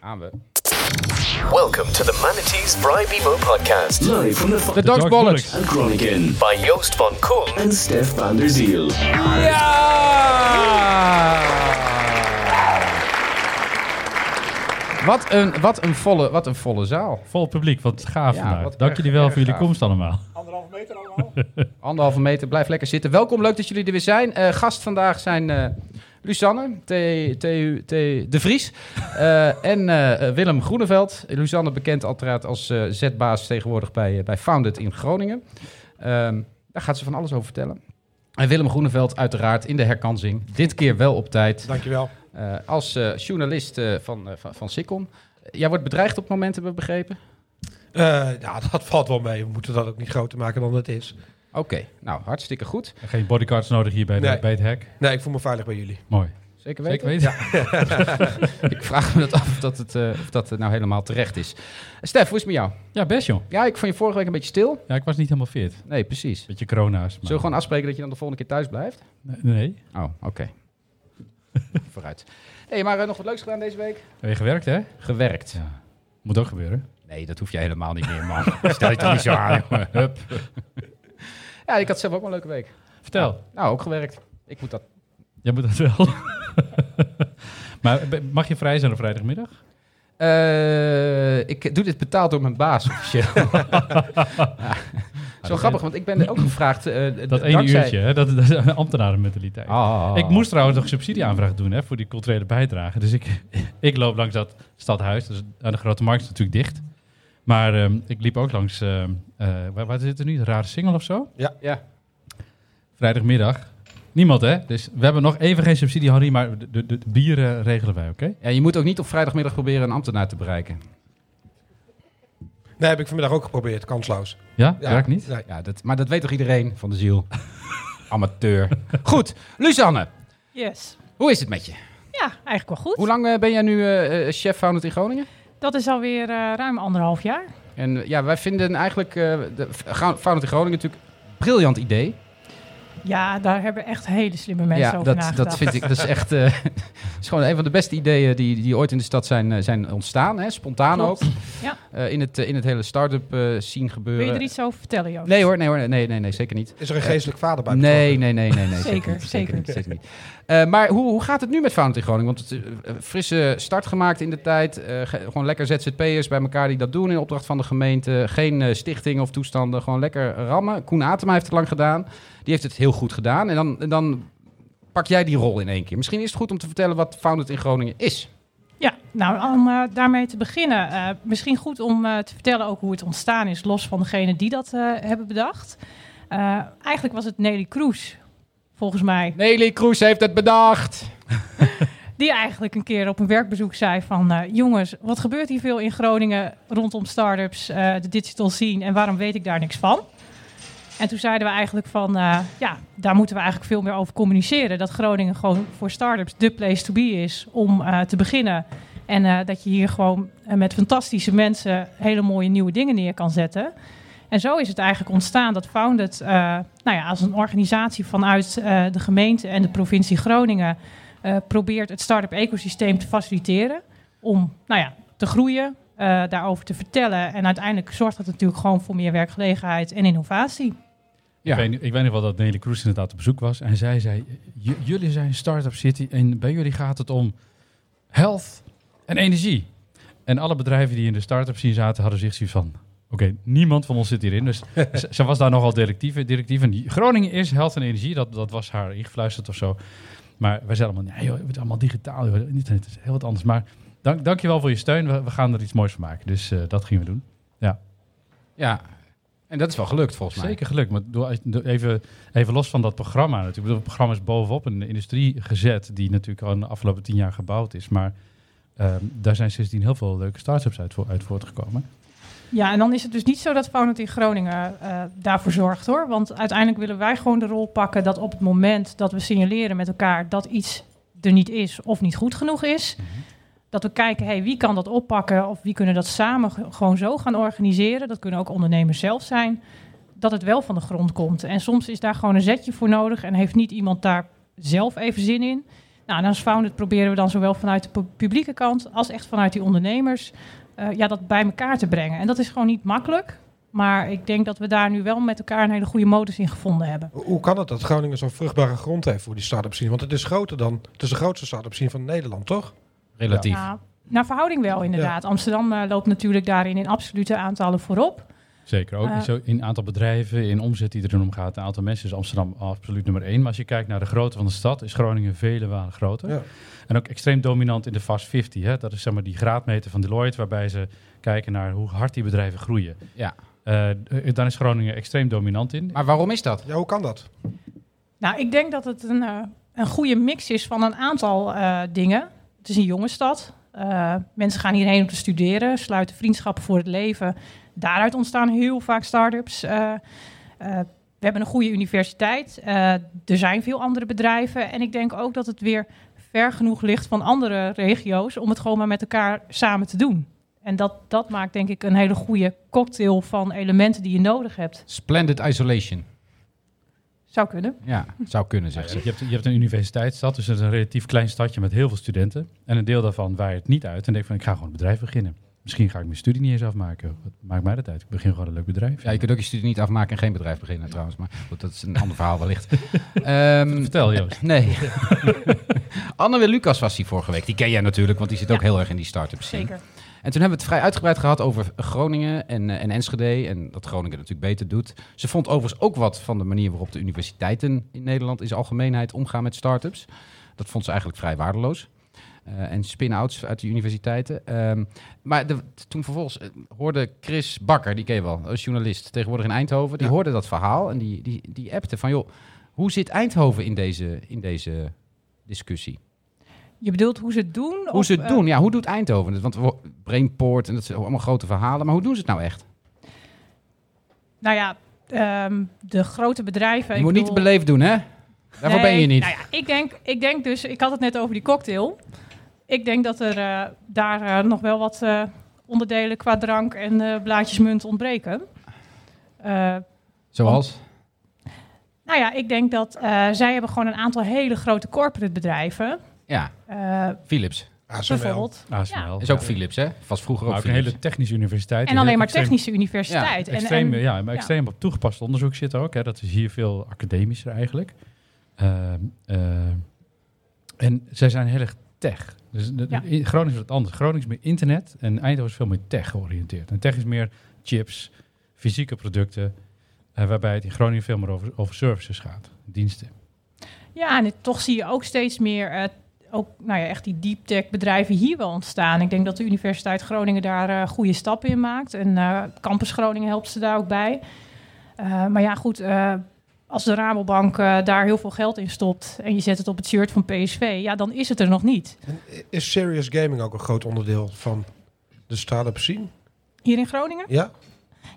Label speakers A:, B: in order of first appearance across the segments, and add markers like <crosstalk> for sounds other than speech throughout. A: Gaan we.
B: Welcome to the Manatees Bribe Emo podcast
C: Live from the
A: De
C: Fox
A: Dutch Bollocks.
C: and Groningen
B: by Joost von Kool
C: and Steph van der Ziel.
A: Ja! Wat een, wat, een volle, wat een volle zaal.
D: Vol publiek, wat gaaf
A: Ja,
D: vandaag.
A: wat
D: Dank
A: erg,
D: jullie wel
A: erg
D: voor jullie
A: gaaf.
D: komst allemaal.
E: Anderhalve meter allemaal.
A: Anderhalve meter, blijf lekker zitten. Welkom, leuk dat jullie er weer zijn. Eh, gast vandaag zijn eh Luzanne T, T, T, de Vries eh, en eh, eh, Willem Groeneveld. Luzanne bekend uiteraard als eh, zetbaas tegenwoordig bij, eh, bij Founded in Groningen. Ehm, daar gaat ze van alles over vertellen. En Willem Groeneveld uiteraard in de herkansing. Dit keer wel op tijd.
E: Dankjewel.
A: Eh, als eh, journalist eh, van, eh, van, van Sikkom. Jij wordt bedreigd op het moment, hebben we begrepen?
E: Eh ja, dat valt wel mee. We moeten dat ook niet groter maken dan het is.
A: Oké, nou hartstikke goed.
D: Geen bodyguards nodig hier bij, de,
E: Nee.
D: bij het hek.
E: Nee, ik voel me veilig bij jullie.
D: Mooi.
A: Zeker weten.
D: Zeker weten.
A: Ik vraag me dat af of dat, het, eh, of dat het nou helemaal terecht is. Stef, hoe is het met jou?
D: Ja, best joh.
A: Ja, ik vond je vorige week een beetje stil.
D: Ja, ik was niet helemaal fit.
A: Nee, precies. Zullen
D: Beetje corona's. Maar...
A: we gewoon afspreken dat je dan de volgende keer thuis blijft?
D: Nee.
A: Oh, oké. <laughs> Vooruit. hey, maar eh, nog wat leuks gedaan deze week?
D: Heb je gewerkt hè?
A: Gewerkt.
D: Ja. Moet ook gebeuren.
A: Nee, dat hoef je helemaal niet meer, <laughs> man. Stel je toch niet zo aan, jongen.
D: Hup.
A: Ja, ik had zelf ook wel een leuke week.
D: Vertel.
A: Nou, ook gewerkt. Ik moet dat...
D: Jij moet dat wel. <laughs> maar b- mag je vrij zijn op vrijdagmiddag?
A: Eh, ik doe dit betaald door mijn baas
D: <laughs>
A: officieel. <laughs> ja. Zo grappig, want ik ben ook gevraagd... eh,
D: Dat ene
A: dankzij-
D: uurtje, hè? Dat, dat is een ambtenarenmentaliteit.
A: Ah.
D: Ik moest trouwens nog subsidieaanvraag doen hè, voor die culturele bijdrage. Dus ik, <laughs> ik loop langs dat stadhuis. Dus aan de Grote Markt is natuurlijk dicht. Maar ehm, ik liep ook langs, ehm eh waar, waar zit er nu? Rare Singel of zo?
A: Ja.
D: Vrijdagmiddag. Niemand hè? Dus we hebben nog even geen subsidie, Harry. Maar de, de, de bieren regelen wij, oké?
A: Ja, je moet ook niet op vrijdagmiddag proberen een ambtenaar te bereiken.
E: Nee, heb ik vanmiddag ook geprobeerd. Kansloos.
D: Ja?
E: Ja.
D: Werkt niet?
E: Nee.
A: Ja, dat, maar dat weet toch iedereen van de
D: <laughs>
A: ziel? Amateur. Goed, Luzanne,
F: Yes.
A: hoe is het met je?
F: Ja, eigenlijk wel goed.
A: Hoe lang eh, ben jij nu eh, eh, chef founded in Groningen?
F: Dat is alweer eh ruim anderhalf jaar.
A: En eh, ja, wij vinden eigenlijk eh de Ga- founded in Groningen natuurlijk een briljant idee.
F: Ja, daar hebben echt hele slimme mensen
A: ja,
F: over
A: dat,
F: nagedacht.
A: dat vind ik. Dat is echt. eh, <laughs> is gewoon een van de beste ideeën die, die ooit in de stad zijn, eh, zijn ontstaan. Hè? Spontaan
F: Klopt.
A: ook.
F: Ja.
A: Eh, in, het, eh, in het hele start-up eh, scene gebeuren.
F: Wil je er iets over vertellen, Joost?
A: Nee hoor, nee hoor, nee, nee, nee, zeker niet.
E: Is er een geestelijk vader bij?
A: Eh, Nee,
E: betrokken?
A: nee, nee, nee. nee
F: Zeker,
A: niet,
F: zeker.
A: niet, zeker niet. Eh, maar hoe, hoe gaat het nu met Founded in Groningen? Want het, eh, frisse start gemaakt in de tijd. eh, ge- gewoon lekker ZZP'ers bij elkaar die dat doen in opdracht van de gemeente. Geen eh, stichting of toestanden. Gewoon lekker rammen. Koen Atema heeft het lang gedaan. Die heeft het heel goed gedaan. En dan, en dan pak jij die rol in één keer. Misschien is het goed om te vertellen wat Founded in Groningen is.
F: Ja, nou, om eh, daarmee te beginnen. eh, misschien goed om eh, te vertellen ook hoe het ontstaan is, los van degene die dat eh, hebben bedacht. Eh, eigenlijk was het Nelly Kroes, volgens mij,
A: Nelly Kroes heeft het bedacht.
F: die eigenlijk een keer op een werkbezoek zei van... eh, jongens, wat gebeurt hier veel in Groningen rondom start-ups, eh, de digital scene... en waarom weet ik daar niks van? En toen zeiden we eigenlijk van... eh, ja, daar moeten we eigenlijk veel meer over communiceren. Dat Groningen gewoon voor start-ups de place to be is om eh, te beginnen. En eh, dat je hier gewoon eh, met fantastische mensen... hele mooie nieuwe dingen neer kan zetten... En zo is het eigenlijk ontstaan dat Founded, eh, nou ja, als een organisatie vanuit eh, de gemeente en de provincie Groningen, eh, probeert het start-up ecosysteem te faciliteren om nou ja, te groeien, eh, daarover te vertellen. En uiteindelijk zorgt dat natuurlijk gewoon voor meer werkgelegenheid en innovatie.
A: Ja.
D: Ik, weet, niet- ik weet nog wel dat Nelly Kroes inderdaad op bezoek was. En zij zei, "J- jullie zijn Startup City en bij jullie gaat het om health en energie. En alle bedrijven die in de start-up scene zaten, hadden zich zoiets van... Oké, niemand van ons zit hierin. Dus ze, ze was daar nogal directief, directief in. Groningen is health en energie, dat, dat was haar ingefluisterd of zo. Maar wij zeiden allemaal, nee joh, het is allemaal digitaal. Joh. Internet is heel wat anders. Maar dank, dankjewel voor je steun. We, we gaan er iets moois van maken. Dus eh, dat gingen we doen.
A: Ja, en dat is wel gelukt volgens mij.
D: Zeker gelukt. Maar doe- als- doe even, even los van dat programma. natuurlijk. Ik bedoel, het programma is bovenop een industrie gezet... die natuurlijk al in de afgelopen tien jaar gebouwd is. Maar ehm, daar zijn sindsdien heel veel leuke start-ups uit, voor- uit voortgekomen.
F: Ja, en dan is het dus niet zo dat Founded in Groningen eh, daarvoor zorgt hoor. Want uiteindelijk willen wij gewoon de rol pakken dat op het moment dat we signaleren met elkaar dat iets er niet is of niet goed genoeg is, dat we kijken, hey, wie kan dat oppakken of wie kunnen dat samen ge- gewoon zo gaan organiseren. Dat kunnen ook ondernemers zelf zijn, dat het wel van de grond komt. En soms is daar gewoon een zetje voor nodig en heeft niet iemand daar zelf even zin in. Nou, en als Founded proberen we dan zowel vanuit de pu- publieke kant als echt vanuit die ondernemers eh, ja, dat bij elkaar te brengen. En dat is gewoon niet makkelijk. Maar ik denk dat we daar nu wel met elkaar een hele goede modus in gevonden hebben.
E: Hoe hoe kan het dat Groningen zo'n vruchtbare grond heeft voor die start-up scene? Want het is groter dan, het is de grootste start-up scene van Nederland, toch?
A: Relatief.
F: Ja, naar verhouding wel inderdaad. Amsterdam eh, loopt natuurlijk daarin in absolute aantallen voorop.
D: Zeker ook.
F: Eh.
D: Zo in aantal bedrijven, in omzet die erin omgaat, een aantal mensen is Amsterdam absoluut nummer één. Maar als je kijkt naar de grootte van de stad, is Groningen vele malen groter.
E: Ja.
D: En ook extreem dominant in de Fast 50. Hè? Dat is zeg maar die graadmeter van Deloitte, waarbij ze kijken naar hoe hard die bedrijven groeien.
A: Ja.
D: Eh, d- daar is Groningen extreem dominant in.
A: Maar waarom is dat?
E: Ja, hoe kan dat?
F: Nou, ik denk dat het een, eh, een goede mix is van een aantal eh, dingen. Het is een jonge stad. Eh, mensen gaan hierheen om te studeren, sluiten vriendschappen voor het leven. Daaruit ontstaan heel vaak start-ups. Eh, eh, we hebben een goede universiteit. Eh, er zijn veel andere bedrijven. En ik denk ook dat het weer ver genoeg ligt van andere regio's om het gewoon maar met elkaar samen te doen. En dat, dat maakt denk ik een hele goede cocktail van elementen die je nodig hebt.
A: Splendid isolation.
F: Zou kunnen.
A: Ja, zou kunnen,
D: Ja,
A: zegt
D: dus
A: ze.
D: je, hebt, je hebt een universiteitsstad, dus het is een relatief klein stadje met heel veel studenten. En een deel daarvan waait het niet uit en denkt van ik ga gewoon een bedrijf beginnen. Misschien ga ik mijn studie niet eens afmaken. Wat maakt mij dat uit? Ik begin gewoon een leuk bedrijf.
A: Ja, je kunt ook je studie niet afmaken en geen bedrijf beginnen trouwens. Maar goed, dat is een ander verhaal wellicht. Ehm,
D: Vertel Joost.
F: <laughs>
A: nee. Anne Lucas was die vorige week. Die ken jij natuurlijk, want die zit ook
F: Ja.
A: heel erg in die start-up scene.
F: Zeker.
A: En toen hebben we het vrij uitgebreid gehad over Groningen en, eh, en Enschede. En dat Groningen natuurlijk beter doet. Ze vond overigens ook wat van de manier waarop de universiteiten in Nederland in zijn algemeenheid omgaan met start-ups. Dat vond ze eigenlijk vrij waardeloos. Eh, en spin-outs uit de universiteiten. Ehm, maar de- toen vervolgens eh, hoorde Chris Bakker, die ken je wel, als journalist, tegenwoordig in Eindhoven. Die
E: Ja.
A: hoorde dat verhaal en die, die, die appte van, joh, hoe zit Eindhoven in deze, in deze discussie?
F: Je bedoelt hoe ze het doen?
A: Hoe ze het doen, ja, hoe doet Eindhoven het? Want wo- Brainport en dat zijn allemaal grote verhalen, maar hoe doen ze het nou echt?
F: Nou ja, ehm, de grote bedrijven.
A: Je
F: ik
A: moet niet te
F: bedoel-
A: beleefd doen, hè? Daarvoor ben je
F: Nee,
A: niet.
F: nou ja, ik, denk, ik denk dus, ik had het net over die cocktail. Ik denk dat er eh, daar eh, nog wel wat eh, onderdelen qua drank en eh, blaadjes munt ontbreken. Eh,
A: Zoals?
F: nou ja, ik denk dat eh, zij hebben gewoon een aantal hele grote corporate bedrijven.
A: Ja,
F: Eh
A: Philips.
E: Ja, zo wel.
F: bijvoorbeeld.
D: ASML.
A: Is ook Philips, hè? Was vroeger ook,
D: Maar ook Oh, een
A: Philips.
D: hele technische universiteit.
F: En
D: Heel
F: alleen maar
D: extreem-
F: technische universiteit. En-
D: Extreem,
F: en,
D: ja, maar extreem op toegepast onderzoek zit ook. Hè. Dat is hier veel academischer eigenlijk. Ehm, ehm, en zij zijn heel erg tech. Dus de-
F: Ja.
D: in Groningen is wat anders. Groningen is meer internet en Eindhoven is veel meer tech georiënteerd. En tech is meer chips, fysieke producten, eh, waarbij het in Groningen veel meer over, over services gaat, diensten.
F: Ja, en het- toch zie je ook steeds meer eh, ook, nou ja, echt die deep tech bedrijven hier wel ontstaan. Ik denk dat de Universiteit Groningen daar eh, goede stappen in maakt. En eh, Campus Groningen helpt ze daar ook bij. Eh, maar ja, goed, eh, als de Rabobank eh, daar heel veel geld in stopt en je zet het op het shirt van PSV, ja, dan is het er nog niet.
E: En Is serious gaming ook een groot onderdeel van de start-up scene?
F: Hier in Groningen?
E: Ja?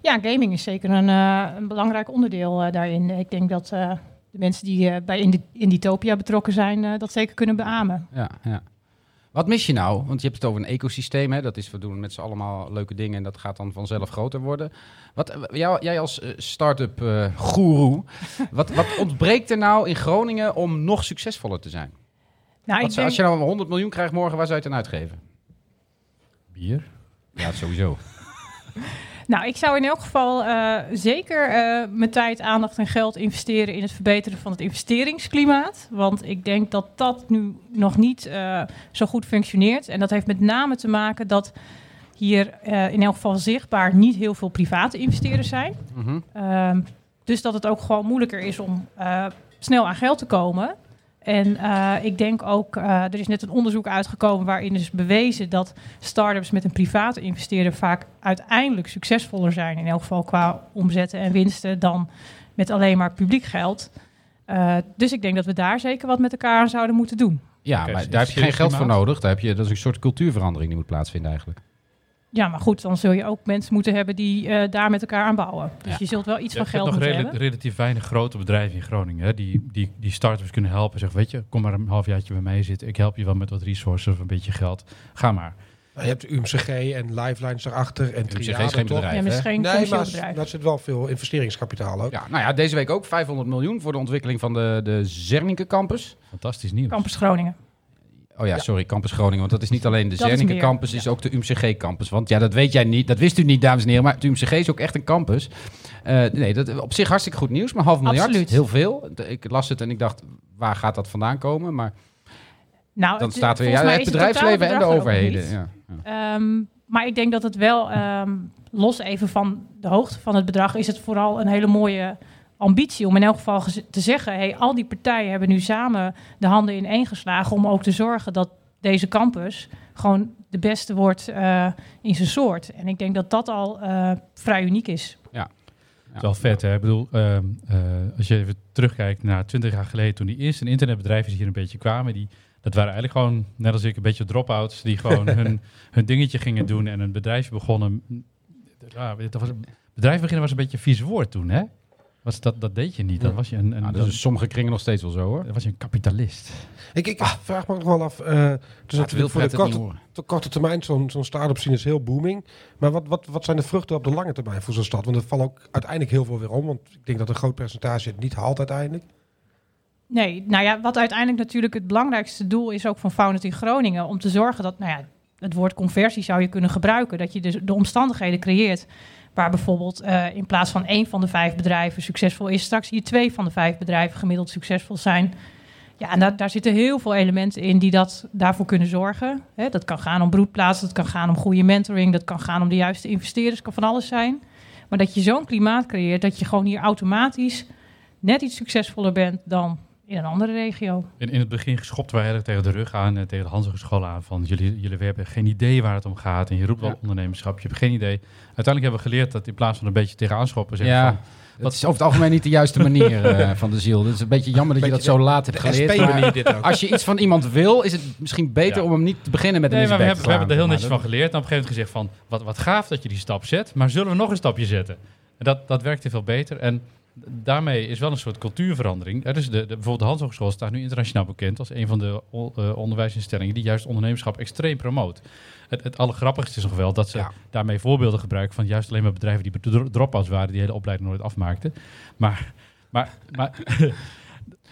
F: Ja, gaming is zeker een, eh, een belangrijk onderdeel eh, daarin. Ik denk dat eh, de mensen die eh, bij Indi- Inditopia betrokken zijn, eh, dat zeker kunnen beamen.
A: Ja, ja. Wat mis je nou? Want je hebt het over een ecosysteem, hè? Dat is, we doen met z'n allemaal leuke dingen en dat gaat dan vanzelf groter worden. Wat, eh, jou, jij als eh, start-up eh,
F: <laughs>
A: goeroe, wat, wat ontbreekt er nou in Groningen om nog succesvoller te zijn?
F: Nou,
A: Wat zou- Als je nou 100 miljoen krijgt morgen, waar zou je het aan uitgeven?
D: Bier.
A: Ja, sowieso.
F: Nou, ik zou in elk geval eh, zeker eh, mijn tijd, aandacht en geld investeren in het verbeteren van het investeringsklimaat. Want ik denk dat dat nu nog niet eh, zo goed functioneert. En dat heeft met name te maken dat hier eh, in elk geval zichtbaar niet heel veel private investeerders zijn.
A: Mhm.
F: Ehm, dus dat het ook gewoon moeilijker is om eh, snel aan geld te komen. En eh, ik denk ook, eh, er is net een onderzoek uitgekomen waarin is bewezen dat start-ups met een private investeerder vaak uiteindelijk succesvoller zijn, in elk geval qua omzetten en winsten, dan met alleen maar publiek geld. Eh, dus ik denk dat we daar zeker wat met elkaar aan zouden moeten doen.
A: Ja,
D: Oké,
A: maar
D: dus
A: daar heb je geen geld voor
D: klimaat.
A: nodig. Daar heb je, dat is een soort cultuurverandering die moet plaatsvinden eigenlijk.
F: Ja, maar goed, dan zul je ook mensen moeten hebben die eh, daar met elkaar aan bouwen. Dus
A: Ja.
F: je zult wel iets
D: Je
F: van
D: hebt nog
F: geld moeten
D: rela-
F: hebben.
D: relatief weinig grote bedrijven in Groningen hè, die, die, die start-ups kunnen helpen. Zeg, weet je, kom maar een halfjaartje bij mij zitten. Ik help je wel met wat resources of een beetje geld. Ga maar.
E: Je hebt UMCG en Lifelines erachter en
A: UMCG is
E: Triade,
A: geen
E: toch?
A: bedrijf.
F: Ja, misschien
E: Nee,
F: commercieel
E: maar
F: bedrijf.
E: daar zit wel veel investeringskapitaal ook.
A: Ja, nou ja, deze week ook 500 miljoen voor de ontwikkeling van de, de Zernike campus.
D: Fantastisch nieuws.
F: Campus Groningen.
A: Oh ja, sorry, Campus Groningen. Want dat is niet alleen de
F: Dat is
A: Zernike
F: meer,
A: campus, is ook de UMCG campus. Want ja, dat weet jij niet. Dat wist u niet, dames en heren. Maar het UMCG is ook echt een campus. Eh, nee, dat op zich hartstikke goed nieuws. Maar half miljard,
F: Absoluut.
A: heel veel. De- Ik las het en ik dacht, waar gaat dat vandaan komen? Maar
F: Nou,
A: dan
F: Oh, het-
A: staat weer
F: volgens
A: ja,
F: mij
A: het
F: is
A: bedrijfsleven en de
F: totaalbedrag er ook nog
A: overheden. Ja.
F: niet.
A: Ja.
F: Ehm, maar ik denk dat het wel, ehm, los even van de hoogte van het bedrag, is het vooral een hele mooie ambitie om in elk geval gez- te zeggen: hey, al die partijen hebben nu samen de handen in één geslagen om ook te zorgen dat deze campus gewoon de beste wordt eh, in zijn soort. En ik denk dat dat al eh, vrij uniek is.
A: Ja.
D: is wel vet, hè? Ik bedoel, ehm, eh, als je even terugkijkt naar 20 jaar geleden, toen die eerste internetbedrijven hier een beetje kwamen, die, dat waren eigenlijk gewoon, net als ik, een beetje drop-outs die
A: <laughs>
D: gewoon hun, hun dingetje gingen doen en een bedrijfje begonnen. Ja, dat was, bedrijf beginnen was een beetje een vies woord toen, hè? Was dat, dat deed je niet. Dan was je een, een,
A: Nou, dat is
D: dan-
A: in sommige kringen nog steeds wel zo hoor.
D: dan was je een kapitalist.
E: Ik, ik
A: Ah.
E: vraag me ook nog wel af. eh dus
A: Laat
E: natuurlijk voor de
A: Wilfred het niet
E: korte,
A: horen.
E: de korte termijn, zo'n zo'n start-up scene is heel booming. Maar wat, wat, wat zijn de vruchten op de lange termijn voor zo'n stad? Want er valt ook uiteindelijk heel veel weer om. Want ik denk dat een groot percentage het niet haalt uiteindelijk.
F: Nee, nou ja, wat uiteindelijk natuurlijk het belangrijkste doel is ook van Founded in Groningen. Om te zorgen dat, nou ja, het woord conversie zou je kunnen gebruiken. Dat je dus de omstandigheden creëert waar bijvoorbeeld eh, in plaats van één van de vijf bedrijven succesvol is, straks hier twee van de vijf bedrijven gemiddeld succesvol zijn. Ja, en daar, daar zitten heel veel elementen in die dat daarvoor kunnen zorgen. Hè, dat kan gaan om broedplaatsen, dat kan gaan om goede mentoring, dat kan gaan om de juiste investeerders, kan van alles zijn. Maar dat je zo'n klimaat creëert dat je gewoon hier automatisch net iets succesvoller bent dan in een andere regio.
D: In, in het begin geschopt wij eigenlijk tegen de rug aan, en tegen de Hanzenschool aan, van jullie, jullie hebben geen idee waar het om gaat. En je roept wel
A: Ja.
D: ondernemerschap, je hebt geen idee. Uiteindelijk hebben we geleerd dat in plaats van een beetje tegenaan schoppen, zeggen
A: Ja.
D: van,
A: Dat is over het algemeen niet de juiste manier
D: <laughs>
A: eh, van de ziel. Het is een beetje jammer dat je dat
E: Beetje
A: zo laat hebt geleerd. maar-
E: SP-manier dit ook.
A: Als je iets van iemand wil, is het misschien beter
D: Ja.
A: om hem niet te beginnen met een
D: Nee, maar we
A: misbek te
D: hebben, we hebben er heel
A: slaan,
D: netjes
A: zeg
D: van
A: maar.
D: geleerd. En op een gegeven moment gezegd van, wat, wat gaaf dat je die stap zet, maar zullen we nog een stapje zetten? En dat, dat werkte veel beter. En daarmee is wel een soort cultuurverandering. Er is de, de, bijvoorbeeld de Hans Hogeschool staat nu internationaal bekend als een van de o- eh, onderwijsinstellingen die juist ondernemerschap extreem promoot. Het, het allergrappigste is nog wel dat ze
A: Ja.
D: daarmee voorbeelden gebruiken van juist alleen maar bedrijven die dro- drop-outs waren, die de hele opleiding nooit afmaakten. Maar, maar, maar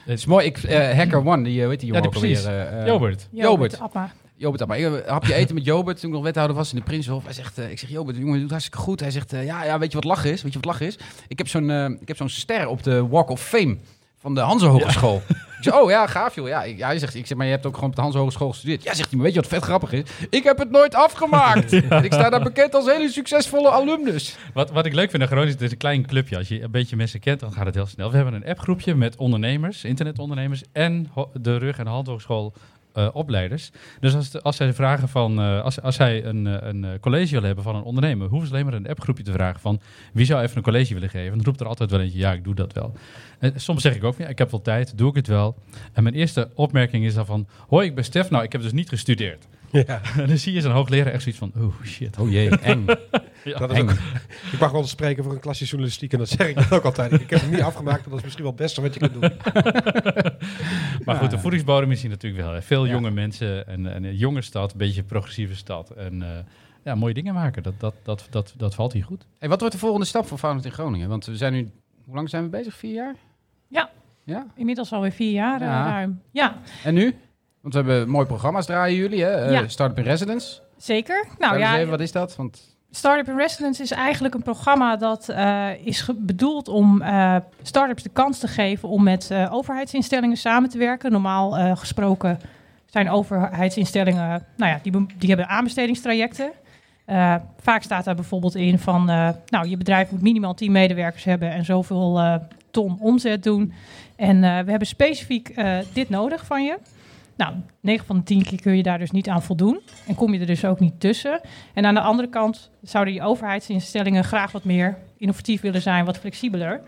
A: Het is mooi, ik, eh, Hacker One, die, weet die jongen
D: die
A: ook
D: precies.
A: alweer. eh, eh,
D: Jobert,
A: Jobert.
F: Appa.
A: Jobert Abba. Ik heb een hapje eten met Jobert toen ik nog wethouder was in de Prinshof. Hij zegt, eh, ik zeg, Jobert, de jongen doet hartstikke goed. Hij zegt, eh, ja, ja, weet je wat lachen is? Weet je wat lachen is? Ik heb zo'n eh, ik heb zo'n ster op de Walk of Fame van de Hanse Hogeschool. Ik zeg, oh ja, gaaf joh. Ja, ik, ja, hij zegt, ik zeg, maar je hebt ook gewoon op de Hanse Hogeschool gestudeerd. Ja, zegt hij, maar weet je wat vet grappig is? Ik heb het nooit afgemaakt. En ik sta daar bekend als hele succesvolle alumnus.
D: Wat, wat ik leuk vind aan Groningen is, het is een klein clubje. Als je een beetje mensen kent, dan gaat het heel snel. We hebben een appgroepje met ondernemers, internetondernemers en ho- de rug- en handhoogschool eh, opleiders. Dus als, de- als zij vragen van, eh, als, als zij een, eh, een eh, college willen hebben van een ondernemer, hoeven ze alleen maar een appgroepje te vragen van wie zou even een college willen geven. En dan roept er altijd wel eentje, ja, ik doe dat wel. En soms zeg ik ook, ja, ik heb wel tijd, doe ik het wel. En mijn eerste opmerking is dan van, hoi, ik ben Stef, nou, ik heb dus niet gestudeerd. <laughs>
E: <laughs> Ja,
D: en dan zie je zo'n hoogleraar echt zoiets van, oh shit.
A: Oh jee, eng.
E: dat is ook, ik mag wel eens spreken voor een klasje journalistiek en dat zeg ik dan ook altijd. Ik heb het niet <laughs> afgemaakt, maar dat is misschien wel het beste wat je kunt doen.
D: Maar
A: Ja.
D: goed, de voedingsbodem is hier natuurlijk wel. hè. Veel
A: Ja.
D: jonge mensen en, en een jonge stad, een beetje een progressieve stad. En eh, ja, mooie dingen maken, dat, dat, dat, dat, dat valt hier goed.
A: Hey, wat wordt de volgende stap voor Founders in Groningen? Want we zijn nu, hoe lang zijn we bezig? Vier jaar?
F: Ja.
A: Ja?
F: Inmiddels alweer vier jaar eh,
A: Ja.
F: ruim. Ja,
A: En nu? Want we hebben mooie programma's draaien jullie, hè? Eh,
F: Ja.
A: Startup in Residence.
F: zeker. Nou
A: Nou,
F: ja,
A: even, wat is dat? Want
F: Startup in Residence is eigenlijk een programma dat eh, is ge- bedoeld om eh startups de kans te geven om met eh, overheidsinstellingen samen te werken. Normaal eh, gesproken zijn overheidsinstellingen, nou ja, die, be- die hebben aanbestedingstrajecten. Eh, vaak staat daar bijvoorbeeld in van, eh, nou, je bedrijf moet minimaal 10 medewerkers hebben en zoveel eh, ton omzet doen. En eh, we hebben specifiek eh, dit nodig van je. Nou, 9 van de 10 keer kun je daar dus niet aan voldoen. En kom je er dus ook niet tussen. En aan de andere kant zouden die overheidsinstellingen graag wat meer innovatief willen zijn, wat flexibeler.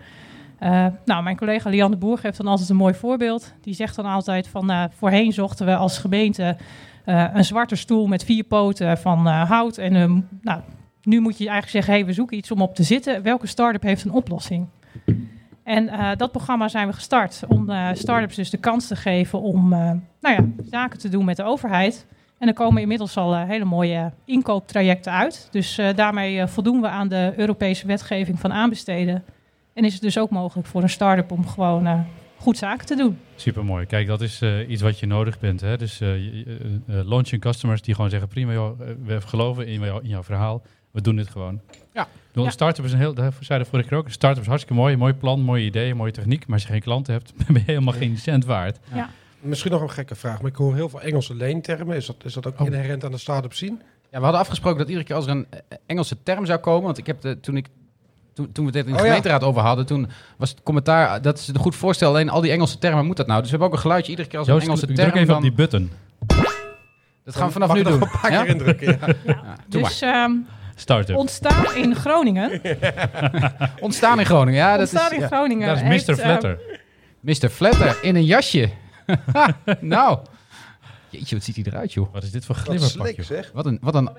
F: Eh, nou, mijn collega Lian de Boer geeft dan altijd een mooi voorbeeld. Die zegt dan altijd van eh, voorheen zochten we als gemeente eh, een zwarte stoel met vier poten van eh, hout. En een- nou, nu moet je eigenlijk zeggen, hey, we zoeken iets om op te zitten. Welke start-up heeft een oplossing? En eh, dat programma zijn we gestart om eh start-ups dus de kans te geven om eh, nou ja, zaken te doen met de overheid. En er komen inmiddels al eh, hele mooie inkooptrajecten uit. Dus eh, daarmee eh, voldoen we aan de Europese wetgeving van aanbesteden. En is het dus ook mogelijk voor een start-up om gewoon eh, goed zaken te doen.
D: Supermooi. Kijk, dat is eh, iets wat je nodig bent. Hè? Dus eh, je- je- eh, eh, launching customers die gewoon zeggen, prima joh, eh, we geloven in jou- in jouw verhaal. We doen dit gewoon.
A: Ja.
D: Ik bedoel,
F: Ja.
D: Een start-up is een heel, daar zei de vorige keer ook, een start-up is hartstikke mooi. Mooi plan, mooie ideeën, mooie techniek. Maar als je geen klanten hebt, <laughs> ben je helemaal geen cent waard.
E: Misschien nog een gekke vraag, maar ik hoor heel veel Engelse leentermen. Is dat, is dat ook
D: Oh.
E: inherent aan de start-up scene?
A: Ja, we hadden afgesproken dat iedere keer als er een eh, Engelse term zou komen, want ik heb de, toen ik toen, toen we dit in de
E: Oh ja.
A: gemeenteraad over hadden, toen was het commentaar ah, dat is een goed voorstel. Alleen al die Engelse termen moet dat nou. Dus we hebben ook een geluidje iedere keer als er een
D: Joost,
A: Engelse
D: druk
A: term.
D: even op
A: dan-
D: die button.
A: Dat gaan we vanaf
E: Mag
A: nu
E: ik nog
A: doen.
E: een
A: <laughs>
E: paar
A: Ja?
E: keer indrukken. ja.
A: Doe
F: Dus ehm,
D: Start-up.
F: ontstaan in Groningen.
A: Ontstaan in Groningen. Ja, dat
F: ontstaan
A: is
F: in
A: ja.
F: Groningen.
D: dat is
F: heeft,
D: Mr.
F: ehm,
D: Flatter.
A: Mr. Flatter in een jasje. <laughs> Ha, nou. Jeetje, wat ziet hij eruit, joh.
D: Wat is dit voor
E: Wat
D: glibberpak,
E: slik
D: joh?
E: zeg.
A: Wat een, wat een,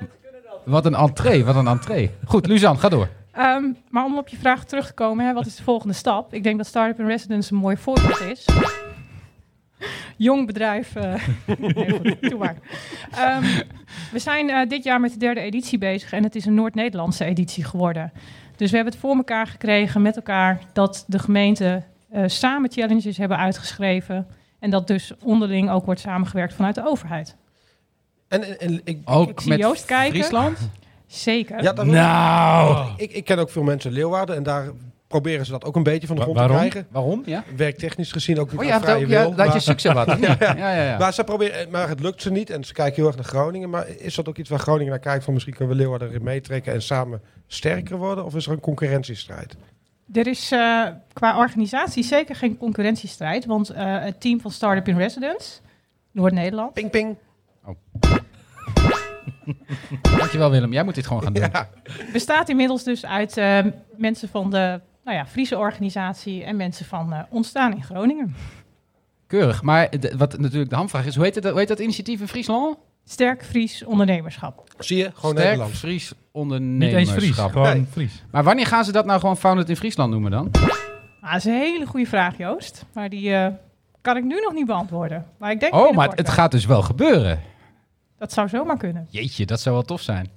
A: wat een entree, wat een entree. Goed, Luzan, ga door.
F: Ehm, maar om op je vraag terug te komen, hè, wat is de volgende stap? Ik denk dat Startup in Residence een mooi voorbeeld is. <laughs> Jong bedrijf. eh, <laughs> nee, goed, doe maar. Ehm, we zijn eh, dit jaar met de derde editie bezig en het is een Noord-Nederlandse editie geworden. Dus we hebben het voor elkaar gekregen met elkaar dat de gemeenten eh, samen challenges hebben uitgeschreven. En dat dus onderling ook wordt samengewerkt vanuit de overheid.
E: En, en, en ik,
A: Ook
F: Ik zie
A: met
F: Joost kijken.
A: Friesland?
F: Zeker.
E: ja, dat
D: Oh.
A: Nou.
E: ik, ik ken ook veel mensen in Leeuwarden en daar proberen ze dat ook een beetje van de
D: Wa-
E: grond
D: waarom?
E: te krijgen.
A: Waarom? Ja.
E: Werktechnisch gezien ook niet
A: Oh,
E: oh,
A: je hebt ook, ja,
E: wil.
A: laat je
E: maar,
A: succes wat. Ja, ja, ja.
E: maar, ze proberen, maar het lukt ze niet en ze kijken heel erg naar Groningen. Maar is dat ook iets waar Groningen naar kijkt van misschien kunnen we Leeuwarden erin meetrekken en samen sterker worden? Of is er een concurrentiestrijd?
F: Er is eh, qua organisatie zeker geen concurrentiestrijd, want eh, het team van Startup in Residence, Noord-Nederland,
E: Ping, ping.
A: Dankjewel Willem, jij moet dit gewoon gaan doen.
E: Ja.
F: bestaat inmiddels dus uit eh, mensen van de nou ja, Friese organisatie en mensen van eh, Ontstaan in Groningen.
A: Keurig. Maar de- wat natuurlijk de hamvraag is, hoe heet, het, hoe heet dat initiatief in Friesland?
F: Sterk Fries ondernemerschap.
E: Zie je? Gewoon
A: Sterk
E: Nederlands.
A: Fries
D: Niet eens
A: ondernemerschap.
D: Fries, gewoon
E: Nee.
D: Fries.
A: Maar wanneer gaan ze dat nou gewoon Founded in Friesland noemen dan?
F: Ah, dat is een hele goede vraag, Joost, maar die eh, kan ik nu nog niet beantwoorden. Maar ik denk
A: Oh, maar het,
F: binnenkort
A: het
F: wel.
A: gaat dus wel gebeuren.
F: Dat zou zomaar
A: <laughs>
F: kunnen.
A: Jeetje, dat zou wel tof zijn.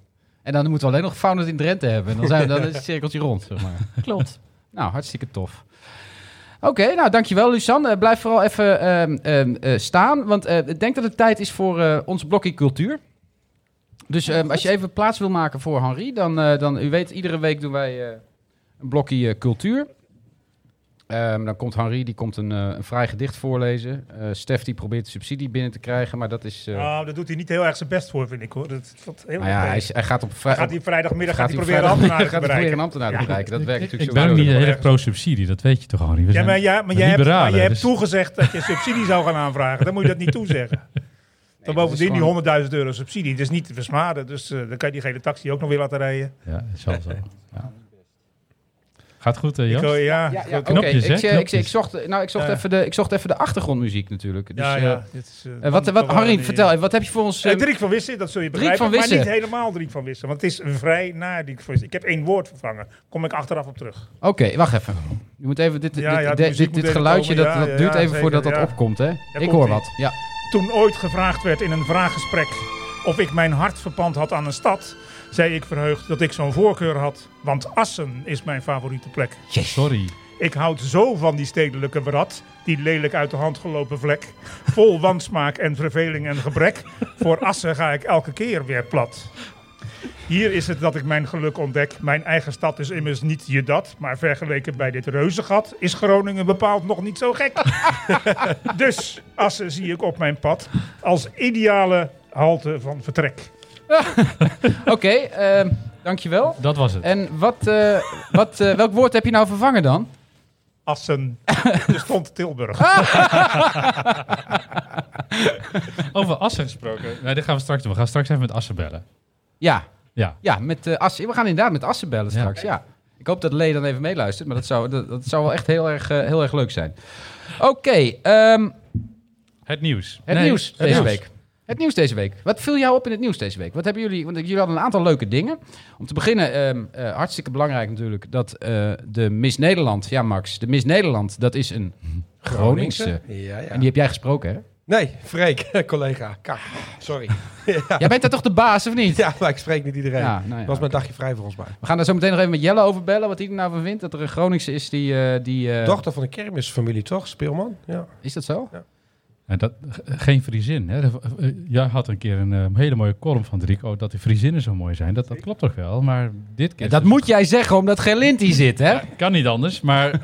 A: En dan moeten we alleen nog Founded in Drenthe hebben. En dan, zijn we, dan is het cirkeltje rond, zeg maar.
F: Klopt.
A: Nou, hartstikke tof. Oké, nou dankjewel Luzanne. Eh, Blijf vooral even ehm, ehm, eh, staan, want eh, ik denk dat het tijd is voor eh, ons blokje cultuur. Dus ehm, als je even plaats wil maken voor Henri, dan, eh, dan u weet, iedere week doen wij eh, een blokje eh, cultuur. Ehm, dan komt Henri, die komt een, eh, een vrij gedicht voorlezen. Eh, Stef die probeert subsidie binnen te krijgen, maar dat is... eh,
G: Nou, daar doet hij niet heel erg zijn best voor, vind ik hoor. Dat valt heel
A: nou ja,
G: erg
A: hij,
G: tegen.
A: is- hij gaat op vrij...
G: gaat hij vrijdagmiddag gaat hij
A: op
G: proberen
A: vrijdag- <laughs>
G: ambtenaren te
A: gaat hij proberen een
G: bereiken.
A: ambtenaar te bereiken. Dat werkt
D: Ik
A: natuurlijk
D: ben ook
A: sowieso
D: niet
A: door.
D: heel pro-subsidie, dat weet je toch, Henri? We
G: Ja,
D: zijn-
G: maar, ja, maar, jij hebt,
D: liberalen,
G: maar jij hebt
D: dus-
G: toegezegd
A: <laughs>
G: dat je subsidie zou gaan aanvragen. Dan moet je dat niet toezeggen.
A: dat is
G: Dan bovendien
A: gewoon-
G: die 100.000 euro subsidie. Dat is niet te versmaden. Dus eh, dan kan je die gele taxi ook nog weer laten rijden.
D: Ja, dat zal zo. Ja. Gaat goed, eh,
G: Ik,
D: Joost?
G: eh, ja,
A: Ja,
G: ik-
A: ja,
G: ja,
A: oké.
D: knopjes,
A: ik,
D: hè?
A: eh, Ik,
D: Knopjes.
A: ik, zocht, nou, ik, zocht
G: Ja.
A: even de, ik zocht even de achtergrondmuziek natuurlijk. Dus,
G: ja,
A: eh,
G: dit is, eh,
A: eh, wat,
G: dan-
A: wat,
G: dan waren
A: Harry,
G: die,
A: vertel,
G: eh,
A: even, wat heb je voor ons... eh,
G: eh, Driek van Wissen, dat zul je
A: Driek
G: begrijpen.
A: van Wissen.
G: Maar niet helemaal Driek van Wissen. Want het is vrij na Driek van Wissen. Ik heb één woord vervangen. Kom ik achteraf op terug.
A: Oké, wacht even. Je moet even dit, dit,
G: Ja, ja,
A: dit,
G: de
A: dit,
G: muziek moet
A: dit
G: even
A: geluidje,
G: komen.
A: dat,
G: Ja,
A: dat
G: ja,
A: duurt
G: ja,
A: even voordat dat
G: zeker, ja.
A: opkomt, hè? ik
G: komt
A: hoor
G: ie.
A: wat. Ja.
G: Toen ooit gevraagd werd in een vraaggesprek of ik mijn hart verpand had aan een stad, zei ik verheugd dat ik zo'n voorkeur had, want Assen is mijn favoriete plek.
D: Sorry.
G: Ik houd zo van die stedelijke wrat, die lelijk uit de hand gelopen vlek, vol wansmaak en verveling en gebrek. Voor Assen ga ik elke keer weer plat. Hier is het dat ik mijn geluk ontdek. Mijn eigen stad is immers niet je dat, maar vergeleken bij dit reuzengat is Groningen bepaald nog niet zo gek. Dus Assen zie ik op mijn pad als ideale halte van vertrek.
A: Oké, ehm, dankjewel.
D: Dat was het.
A: En wat, eh, wat, eh, welk woord heb je nou vervangen dan?
G: Assen, er stond Tilburg.
D: Over Assen gesproken. Nee, dit gaan we straks doen. We gaan straks even met Assen bellen.
A: Ja,
D: Ja.
A: ja met eh Assen. We gaan inderdaad met Assen bellen
D: Ja.
A: straks, ja. Ik hoop dat Lee dan even meeluistert, maar dat zou, dat, dat zou wel echt heel erg, eh, heel erg leuk zijn. Oké, ehm,
D: Het nieuws.
A: Het
D: Nee,
A: nieuws deze
D: nieuws.
A: week. Het nieuws deze week. Wat viel jou op in het nieuws deze week? Wat hebben jullie? Want jullie hadden een aantal leuke dingen. Om te beginnen, ehm, eh, hartstikke belangrijk natuurlijk, dat eh, de Miss Nederland, ja Max, de Miss Nederland, dat is een Groningse.
E: Ja, ja.
A: En die heb jij gesproken, hè?
E: Nee, Freek, <laughs> collega. Ka, sorry. <laughs>
A: Jij bent daar toch de baas, of niet?
E: Ja, maar ik spreek niet iedereen.
A: Ja, nou ja,
E: was mijn dagje vrij volgens mij.
A: We gaan daar zo meteen nog even met Jelle over bellen, wat hij er nou van vindt. Dat er een Groningse is die... eh, die eh,
E: Dochter van een kermisfamilie, toch? Speelman? Ja.
A: Is dat zo?
D: En dat, ge- geen Friesin. Hè? Dat- eh, Jij had een keer een eh, hele mooie column van Rico dat die Friezinnen zo mooi zijn. Dat, dat klopt toch wel, maar dit keer...
A: dat moet jij zeggen, omdat Gerlind hier zit, hè?
D: Kan niet anders, maar...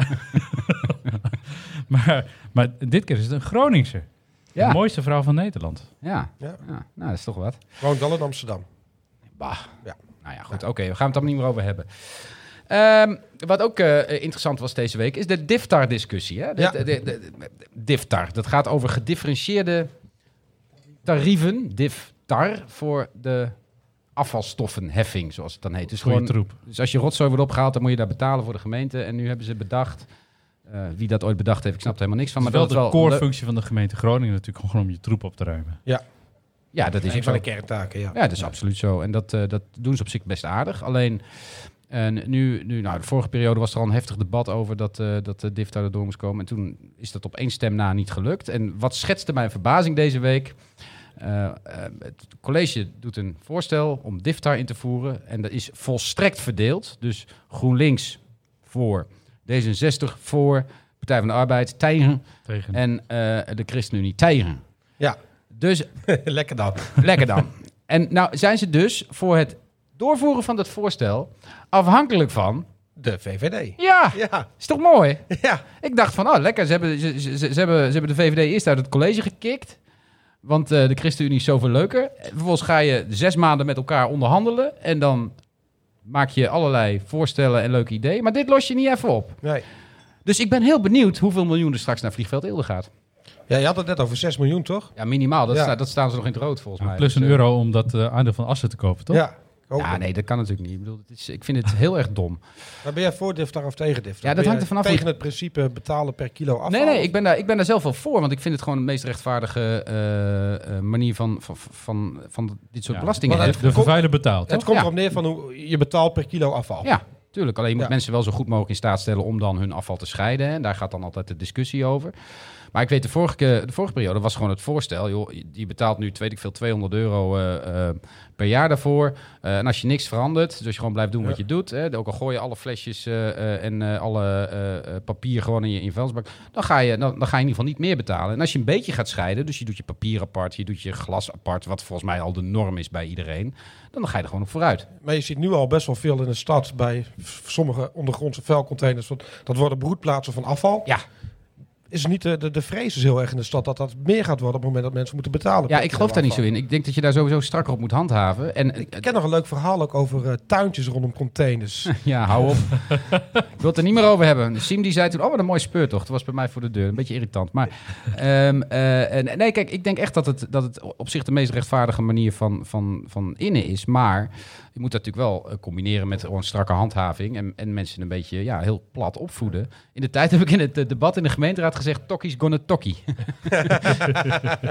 D: <laughs> maar, maar dit keer is het een Groningse.
A: Ja.
D: De mooiste vrouw van Nederland.
A: Ja.
E: Ja.
A: ja. Nou, dat is toch wat.
E: Woont wel in Amsterdam.
A: Bah.
E: Ja.
A: Nou ja, goed. Oké, we gaan het allemaal niet meer over hebben. Ehm, wat ook eh, interessant was deze week is de DIFTAR-discussie. hè? De-
E: Ja.
A: de- de- de- de- DIFTAR, dat gaat over gedifferentieerde tarieven, DIFTAR, voor de afvalstoffenheffing, zoals het dan heet. Dus,
D: Goeie
A: gewoon,
D: troep.
A: dus als je rotzooi wordt opgehaald, dan moet je daar betalen voor de gemeente. En nu hebben ze bedacht, eh, wie dat ooit bedacht heeft, ik snap er helemaal niks van. Maar
D: Maar wel
A: dat
D: de
A: is wel
D: core-functie van de gemeente Groningen natuurlijk gewoon om je troep op te ruimen.
A: Ja, dat is
E: Een
A: ook
E: van
A: zo.
E: de kerntaken, ja. <laughs>
A: Ja, dat is absoluut zo. En dat, eh, dat doen ze op zich best aardig. Alleen en nu, nu nou, de vorige periode was er al een heftig debat over dat, eh dat de DIFTA erdoor moest komen. En toen is dat op één stem na niet gelukt. En wat schetste mijn verbazing deze week? Eh, eh, het college doet een voorstel om DIFTA in te voeren. En dat is volstrekt verdeeld. Dus GroenLinks voor, D66 voor, Partij van de Arbeid tegen
D: Tegen.
A: en eh de ChristenUnie tegen.
E: Ja.
A: Dus
E: Lekker dan.
A: Lekker dan. En nou zijn ze dus voor het doorvoeren van dat voorstel afhankelijk van...
E: De VVD.
A: Ja,
E: Ja,
A: is toch mooi?
E: ja.
A: Ik dacht van, oh lekker, ze hebben, ze, ze, ze- ze hebben, ze hebben de VVD eerst uit het college gekikt. Want eh, de ChristenUnie is zoveel leuker. En Vervolgens ga je zes maanden met elkaar onderhandelen. En dan maak je allerlei voorstellen en leuke ideeën. Maar dit los je niet even op.
E: Nee.
A: Dus ik ben heel benieuwd hoeveel miljoen er straks naar Vliegveld Eelde gaat.
E: Ja, je had het net over 6 miljoen, toch?
A: Ja, minimaal. Dat,
E: Ja.
A: sta- dat staan ze nog in het rood volgens mij.
D: Plus een
A: Dus, eh,
D: euro om dat eh, aandeel van Assen te kopen, toch?
E: Ja. Oh, Ook.
A: Ja, nee, dat kan natuurlijk niet. Ik, bedoel, het is, ik vind het heel erg dom.
E: Maar ben jij voor diftar of tegen diftar?
A: Ja, dat hangt
E: Ben jij
A: er vanaf hoe
E: Tegen het principe betalen per kilo afval?
A: Nee, nee, ik ben, daar, ik ben daar zelf wel voor. Want ik vind het gewoon de meest rechtvaardige eh, eh, manier van, van, van, van dit soort
D: Ja.
A: belastingen.
E: Maar
A: Ja,
E: dat-
D: De, de vervuiler betaalt.
E: Het komt
A: Ja.
E: erop neer van hoe je betaalt per kilo afval.
A: tuurlijk. Alleen je moet
E: Oh. Ja.
A: mensen wel zo goed mogelijk in staat stellen om dan hun afval te scheiden. hè. En daar gaat dan altijd de discussie over. Maar ik weet, de vorige, keer- de vorige periode was gewoon het voorstel. Joh, je betaalt nu, weet ik veel, 200 euro eh, eh, per jaar daarvoor. Eh, en als je niks verandert, dus je gewoon blijft doen wat je doet. Hè, ook al gooi je alle flesjes eh, eh, en eh, alle eh, eh, papier gewoon in je, in je vuilnisbak. Dan ga, je, dan, dan ga je in ieder geval niet meer betalen. En als je een beetje gaat scheiden, dus je doet je papier apart, je doet je glas apart. Wat volgens mij al de norm is bij iedereen. Dan ga je er gewoon op vooruit.
E: Maar je ziet nu al best wel veel in de stad bij f- sommige ondergrondse vuilcontainers. want Dat worden broedplaatsen van afval.
A: Ja.
E: Is niet de, de, de vrees is heel erg in de stad dat dat meer gaat worden op het moment dat mensen moeten betalen.
A: Ja,
E: per
A: ik
E: kilo
A: geloof daar niet zo
E: afval.
A: in. Ik denk dat je daar sowieso strakker op moet handhaven. En eh,
E: Ik ken nog een leuk verhaal ook over eh, tuintjes rondom
A: <laughs>
E: containers.
A: ja, hou op. ik wil het er niet meer over hebben. Sim die zei toen, oh, wat een mooi speurtocht. Dat was bij mij voor de deur. Een beetje irritant. Maar ehm, eh, en, nee, kijk, ik denk echt dat het, dat het op zich de meest rechtvaardige manier van, van, van innen is. Maar je moet dat natuurlijk wel eh, combineren met gewoon strakke handhaving. En, en mensen een beetje ja, heel plat opvoeden. In de tijd heb ik in het eh, debat in de gemeenteraad gezegd, tokkies gonna tokkie.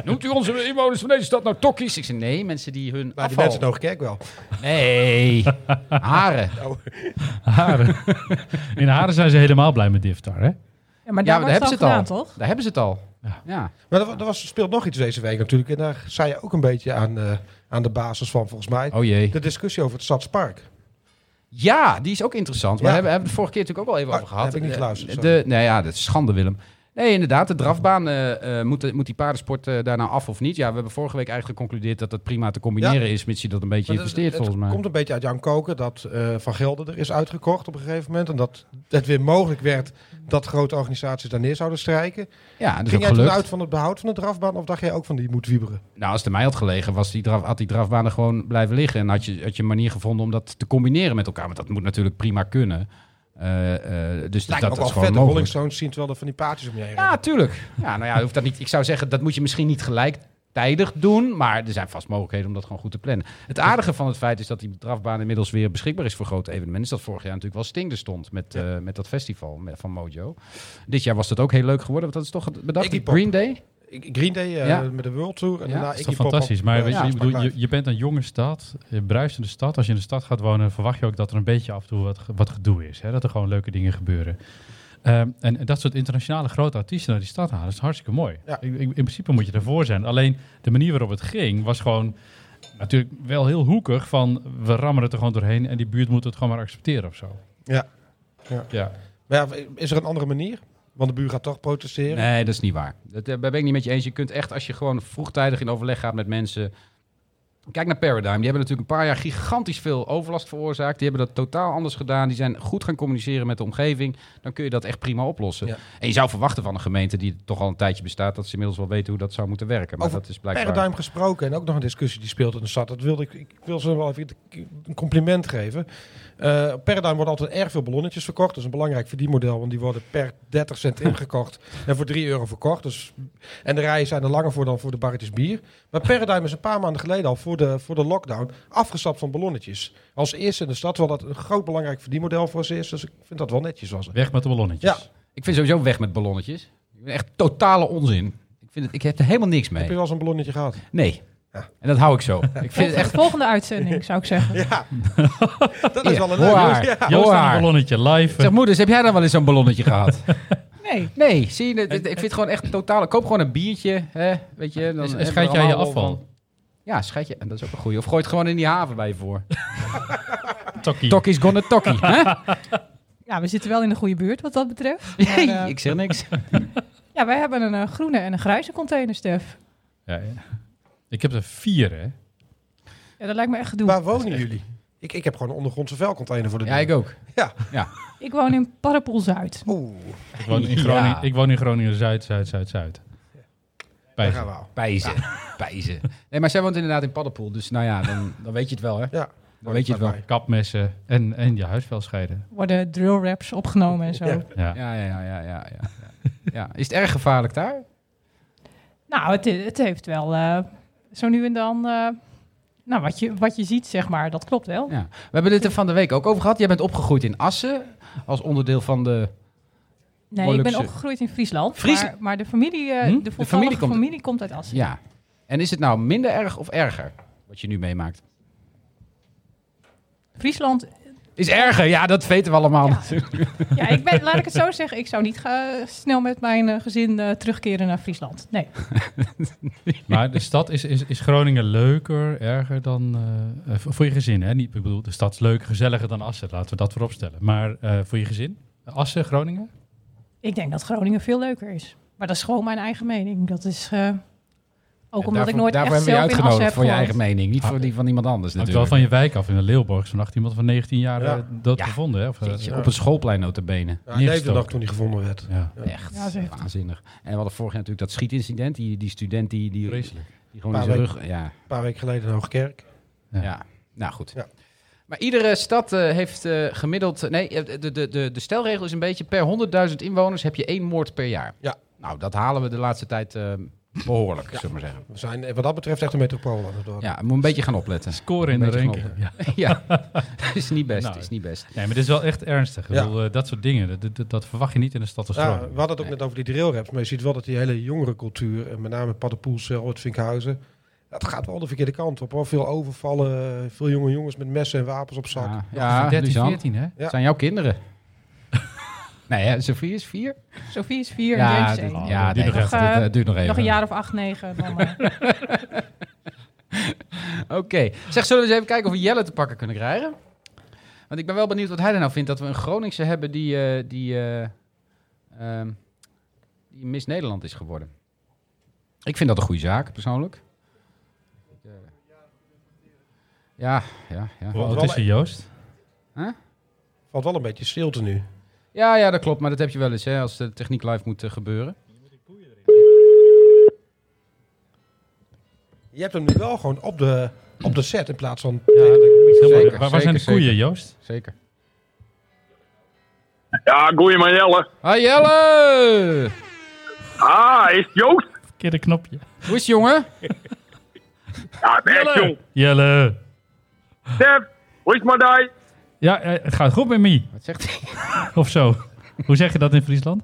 A: Noemt u onze inwoners van deze stad nou tokkies? Ik zei, nee, mensen die hun
E: Maar die
A: afval...
E: mensen in Hoogkerk wel.
A: Nee, haren.
E: Nou.
D: Haren. In Haren zijn ze helemaal blij met Diftar, hè?
F: Ja, maar
A: Ja,
F: daar
A: maar
F: wordt
A: daar hebben ze het
F: het al gedaan,
A: al.
F: toch?
A: Daar hebben ze het al.
D: Ja.
A: Ja.
E: Maar er, wa- er was, speelt nog iets deze week natuurlijk. En daar zei je ook een beetje aan, eh, aan de basis van volgens mij.
A: Oh jee.
E: De discussie over het Stadspark.
A: Ja, die is ook interessant. Maar
E: Ja.
A: daar hebben we hebben we de vorige keer natuurlijk ook al even
E: Oh,
A: over gehad.
E: heb ik niet geluisterd,
A: De,
E: sorry.
A: de- nee, ja, dat is schande, Willem. Nee, inderdaad. De drafbaan, eh, eh, moet, de- moet die paardensport eh, daarna af of niet? Ja, we hebben vorige week eigenlijk geconcludeerd dat dat prima te combineren is, mits je dat een beetje
E: Maar dat-
A: investeert,
E: het
A: volgens mij.
E: komt een beetje uit Jan Koken dat eh, Van Gelder er is uitgekocht op een gegeven moment. En dat het weer mogelijk werd dat grote organisaties daar neer zouden strijken.
A: Ja, dat is
E: Ging
A: ook
E: jij toen
A: gelukt.
E: uit van het behoud van de drafbaan of dacht jij ook van die moet wieberen?
A: Nou, als het aan mij had gelegen, was die draf, had die drafbaan er gewoon blijven liggen. En had je, had je een manier gevonden om dat te combineren met elkaar. Want dat moet natuurlijk prima kunnen. Eh, eh, dus
E: Lijkt
A: dat,
E: me
A: dat
E: ook
A: is
E: wel
A: gewoon
E: vet. De Rolling
A: mogelijk.
E: Stones zien terwijl er van die paardjes om je heen
A: Ja,
E: rennen.
A: tuurlijk. Ja, nou ja, hoeft dat niet. Ik zou zeggen, dat moet je misschien niet gelijktijdig doen. Maar er zijn vast mogelijkheden om dat gewoon goed te plannen. Het aardige van het feit is dat die drafbaan inmiddels weer beschikbaar is voor grote evenementen. Is dat vorig jaar natuurlijk wel stinkend stond met, eh, met dat festival met- van Mojo. Dit jaar was dat ook heel leuk geworden. Want dat is toch het- bedacht?
E: Iggy
A: die
E: Pop.
A: Green Day?
E: Ik- Green Day eh,
A: Ja.
E: met de World Tour. En
A: Ja,
E: daarna
A: dat
D: Dat is
E: Iggy
D: toch
E: Pop
D: fantastisch.
E: op,
D: Maar
E: eh,
D: weet je, ik
E: Stadspark
D: bedoel, je,
E: Live.
D: je bent een jonge stad, een bruisende stad. Als je in de stad gaat wonen, verwacht je ook dat er een beetje af en toe wat, ge- wat gedoe is. Hè? Dat er gewoon leuke dingen gebeuren. Ehm, en, en dat soort internationale grote artiesten naar die stad halen, is hartstikke mooi.
E: Ja.
D: Ik, ik- in principe moet je daarvoor zijn. Alleen de manier waarop het ging, was gewoon natuurlijk wel heel hoekig van we rammen het er gewoon doorheen en die buurt moet het gewoon maar accepteren of zo.
E: Ja.
D: ja.
E: Ja. Maar ja, is er een andere manier? Want de buur gaat toch protesteren.
A: Nee, dat is niet waar. Dat, eh, daar ben ik niet met je eens. Je kunt echt, als je gewoon vroegtijdig in overleg gaat met mensen... Kijk naar Paradigm. Die hebben natuurlijk een paar jaar gigantisch veel overlast veroorzaakt. Die hebben dat totaal anders gedaan. Die zijn goed gaan communiceren met de omgeving. Dan kun je dat echt prima oplossen.
E: Ja.
A: En je zou verwachten van een gemeente die toch al een tijdje bestaat... dat ze inmiddels wel weten hoe dat zou moeten werken. Maar
E: Over
A: dat is blijkbaar...
E: Paradigm gesproken en ook nog een discussie die speelt in de stad. Dat wilde ik, ik wil ze wel even een compliment geven. Eh Paradigm wordt altijd erg veel ballonnetjes verkocht. Dat is een belangrijk verdienmodel, want die worden per
A: <laughs>
E: 30 cent ingekocht en voor 3 euro verkocht. Dus, en de rijen zijn er langer voor dan voor de barretjes bier. Maar Paradigm is een paar maanden geleden al voor de, voor de lockdown afgestapt van ballonnetjes. Als eerste in de stad, terwijl dat een groot belangrijk verdienmodel voor ze is. Dus ik vind dat wel netjes was.
D: Weg met de ballonnetjes.
E: Ja.
A: Ik vind sowieso weg met ballonnetjes. Ik vind echt totale onzin. Ik, vind het, ik heb er helemaal niks
E: Heb je
A: mee.
E: wel eens een ballonnetje
A: <laughs>
E: gehad?
A: Nee.
E: Ja.
A: En dat hou ik zo.
E: <laughs>
A: Ik vind het
F: Volgende,
A: echt...
F: volgende uitzending, zou ik
A: <laughs>
F: zeggen.
E: Ja, dat is
A: Ja,
E: wel
A: hoor
E: een leuk.
A: haar.
E: Ja.
A: Hoor
D: Joost aan
A: haar.
D: een ballonnetje live.
A: Zeg, moeders, heb jij dan wel eens zo'n ballonnetje gehad?
F: Nee.
A: Nee, zie je, dit- dit- ik vind het gewoon echt totale. Koop gewoon een biertje, hè, weet je. Dan
D: En
A: hebben we
D: scheid
A: er
D: jij je
A: allemaal wel
D: afval?
A: van. Ja, scheid je. En dat is ook een goeie. Of gooi het gewoon in die haven bij je voor.
D: Tokkie.
A: Tokkie's gonna tokkie, hè? <laughs>
F: Ja, we zitten wel in de goede buurt wat dat betreft. Maar, eh,
A: ik zeg niks.
F: ja, wij hebben een eh, groene en een grijze container, Stef.
D: Ja, ja. Ik heb er vier, hè.
F: Ja, dat lijkt me echt gedoe.
E: Waar wonen jullie? Ik, ik heb gewoon een ondergrondse vuilcontainer voor de
A: Ja,
E: deur.
A: ik ook.
F: Ik woon in Parapool-Zuid.
E: Oeh,
D: Ik woon in
A: Ja.
D: Groningen, ik woon in Groningen Zuid, Zuid, Zuid, Zuid.
E: daar
D: Bij
E: gaan we al.
A: Pijzen. Pijzen. Nee, maar zij woont inderdaad in Paddenpoel. Dus nou ja, dan, dan weet je het wel, hè?
E: Ja.
A: Dan weet je het wel.
D: kapmessen en, en je huisvel scheiden.
F: Worden drill raps opgenomen en zo.
E: Ja.
D: Ja.
A: Ja, ja, ja, ja, ja. ja. ja. Is het erg gevaarlijk daar?
F: Nou, het, het heeft wel eh, zo nu en dan... eh, nou, wat je, wat je ziet, zeg maar, dat klopt wel.
A: Ja. We hebben dit er van de week ook over gehad. Jij bent opgegroeid in Assen. Als onderdeel van de...
F: Nee,
A: Mooi
F: ik ben
A: luxe.
F: opgegroeid in Friesland.
A: Fries-
F: Maar, maar de familie, eh,
A: Hm?
F: de
A: De
F: voltallige
A: familie
F: familie
A: komt-
F: komt, uit Assen.
A: Ja. En is het nou minder erg of erger? Wat je nu meemaakt.
F: Friesland,
A: Is erger, ja, dat weten we allemaal
F: Ja.
A: natuurlijk.
F: ja, ik ben, laat ik het zo zeggen, ik zou niet eh, snel met mijn eh, gezin eh, terugkeren naar Friesland. Nee.
D: Maar de stad is, is, is Groningen leuker, erger dan eh, eh, voor voor je gezin. Hè? Niet, ik bedoel, de stad is leuker, gezelliger dan Assen. Laten we dat voorop stellen. Maar eh, voor je gezin, Assen, Groningen.
F: Ik denk dat Groningen veel leuker is. Maar dat is gewoon mijn eigen mening. Dat is eh, ook omdat
A: daarvoor,
F: ik nooit
A: daarvoor hebben we
F: echt zelf
A: je
F: in Assen
A: uitgenodigd
F: heb
A: voor je
F: gewoond.
A: eigen mening, niet
D: Ah,
A: voor die van iemand anders
D: Hangt wel
A: natuurlijk.
D: van je wijk af. In de Leeuwborg is vannacht iemand van 19 jaar
E: Ja.
D: eh, dood
A: Ja.
D: gevonden. Hè? Of, eh,
A: Jeetje, Op een schoolplein notabene.
E: Ja, hij leefde
D: Neergestoken.
E: nog toen hij gevonden werd.
D: ja.
A: Echt
F: Ja, dat is echt-
A: waanzinnig. En we hadden vorig jaar natuurlijk dat schietincident. Die, die student die, die, die
D: Vreselijk.
A: gewoon in
E: Paar
A: zijn rug... Ja,
E: Een paar weken geleden in Hoogkerk.
A: ja.
D: Ja.
A: nou goed.
E: Ja.
A: Maar iedere stad eh, heeft eh, gemiddeld... Nee, eh, de, de, de, de stelregel is een beetje... per 100.000 inwoners heb je één moord per jaar.
E: Ja.
A: Nou, dat halen we de laatste tijd eh, behoorlijk, zullen we maar zeggen.
E: We zijn eh, wat dat betreft echt een metropool aan het worden.
A: Ja, moet een beetje gaan opletten.
D: Scoren in de
A: Een beetje
D: ranking. Ja.
A: ja, <laughs> dat is niet best,
D: Nou,
A: is niet best.
D: Nee, maar dit is wel echt ernstig. Ik
E: Ja.
D: bedoel, eh, dat soort dingen, dat, dat, dat verwacht je niet in een stad als
E: Ja,
D: Groningen.
E: we hadden het ook
A: Nee.
E: net over die drillraps, maar je ziet wel dat die hele jongere cultuur, en met name Paddenpoels, Albert Vinkhuizen, dat gaat wel de verkeerde kant op. Hoor. Veel overvallen, eh, veel jonge jongens met messen en wapens op zak.
A: Ja,
D: Van
A: ja
D: 13,
A: Luzanne.
D: 14, hè?
E: Ja.
A: Het zijn jouw kinderen. <laughs> nee, hè, Sophie is vier.
F: Sofie is vier en James één.
A: dit-
D: één.
A: ja
D: Duurt
A: nee,
D: nog
A: dat
F: even.
A: dat, eh, duurt nog even.
F: Nog een jaar of acht, negen. Dan, eh.
A: <laughs> Oké. Zeg, zullen we eens even kijken of we Jelle te pakken kunnen krijgen? Want ik ben wel benieuwd wat hij er nou vindt. Dat we een Groningse hebben die, eh, die, eh, ehm, die Miss Nederland is geworden. Ik vind dat een goede zaak, persoonlijk. Ik, eh, Ja, ja, ja.
D: Hoe oud is je, Joost?
E: Valt wel een beetje stilte nu.
A: Ja, ja, dat klopt. Maar dat heb je wel eens, hè, als de techniek live moet eh, gebeuren.
E: Je hebt hem nu wel gewoon op de, op de set in plaats van...
D: Heel
A: zeker,
D: mooi. Waar, waar zijn de
A: zeker,
D: koeien, Joost?
A: Zeker.
H: Ja, goeie maar Jelle.
A: Hoi Jelle!
H: Ah, is het Joost?
D: Verkeerde knopje.
A: Hoe is het, jongen?
H: Ja, het echt jong.
D: Jelle.
H: Stef, hoe is het daar?
D: Ja, eh, het gaat goed met mij.
A: Wat zegt hij?
D: Of zo. Hoe zeg je dat in Friesland?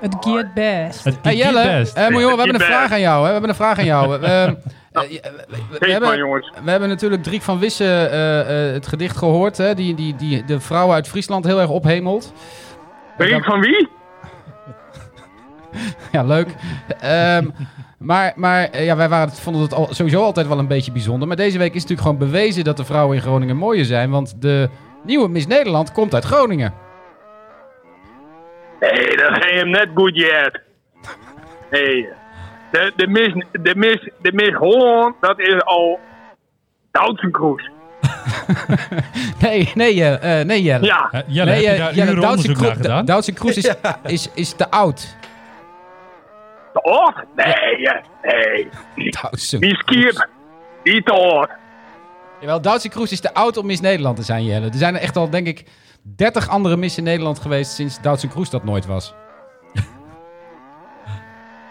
F: het geared best.
D: Het
A: Hey Jelle,
D: best.
A: eh, maar jongen, we hebben een
H: Kiet
A: vraag
H: best.
A: aan jou. Hè? We hebben een vraag aan jou. Eh, eh, eh, we- we,
H: Geef maar,
A: hebben,
H: jongens.
A: we hebben natuurlijk Driek van Wissen eh, eh, het gedicht gehoord, hè? Die, die, die de vrouw uit Friesland heel erg ophemelt.
H: Ben ik van wie?
A: Ja, leuk. Ehm, maar maar eh, ja, wij waren, het- vonden het al, sowieso altijd wel een beetje bijzonder. Maar deze week is natuurlijk gewoon bewezen dat de vrouwen in Groningen mooier zijn. Want de nieuwe Miss Nederland komt uit Groningen.
H: Nee, dat ging hem net goed, Jet. Nee. De, de, mis, de, mis, de mis Holland, dat is al... Duitsenkroes.
A: Nee, nee, Jelle, eh, nee Jelle.
H: Ja.
D: Eh, Jelle,
A: nee,
D: heb je
A: eh,
D: daar
A: Jelle,
D: uren
A: Doutzen
D: onderzoek
A: Kroes-
D: naar gedaan?
A: D- Doutzen
H: <laughs>
A: Kroes is, is, is te oud.
H: Te oud? Nee, eh, nee.
A: Doutzen.
H: Die skip. Die te oud.
A: Jawel, Doutzen Kroes is te oud om Miss Nederland te zijn, Jelle. Er zijn er echt al, denk ik, 30 andere Miss in Nederland geweest sinds Doutzen Kroes dat nooit was.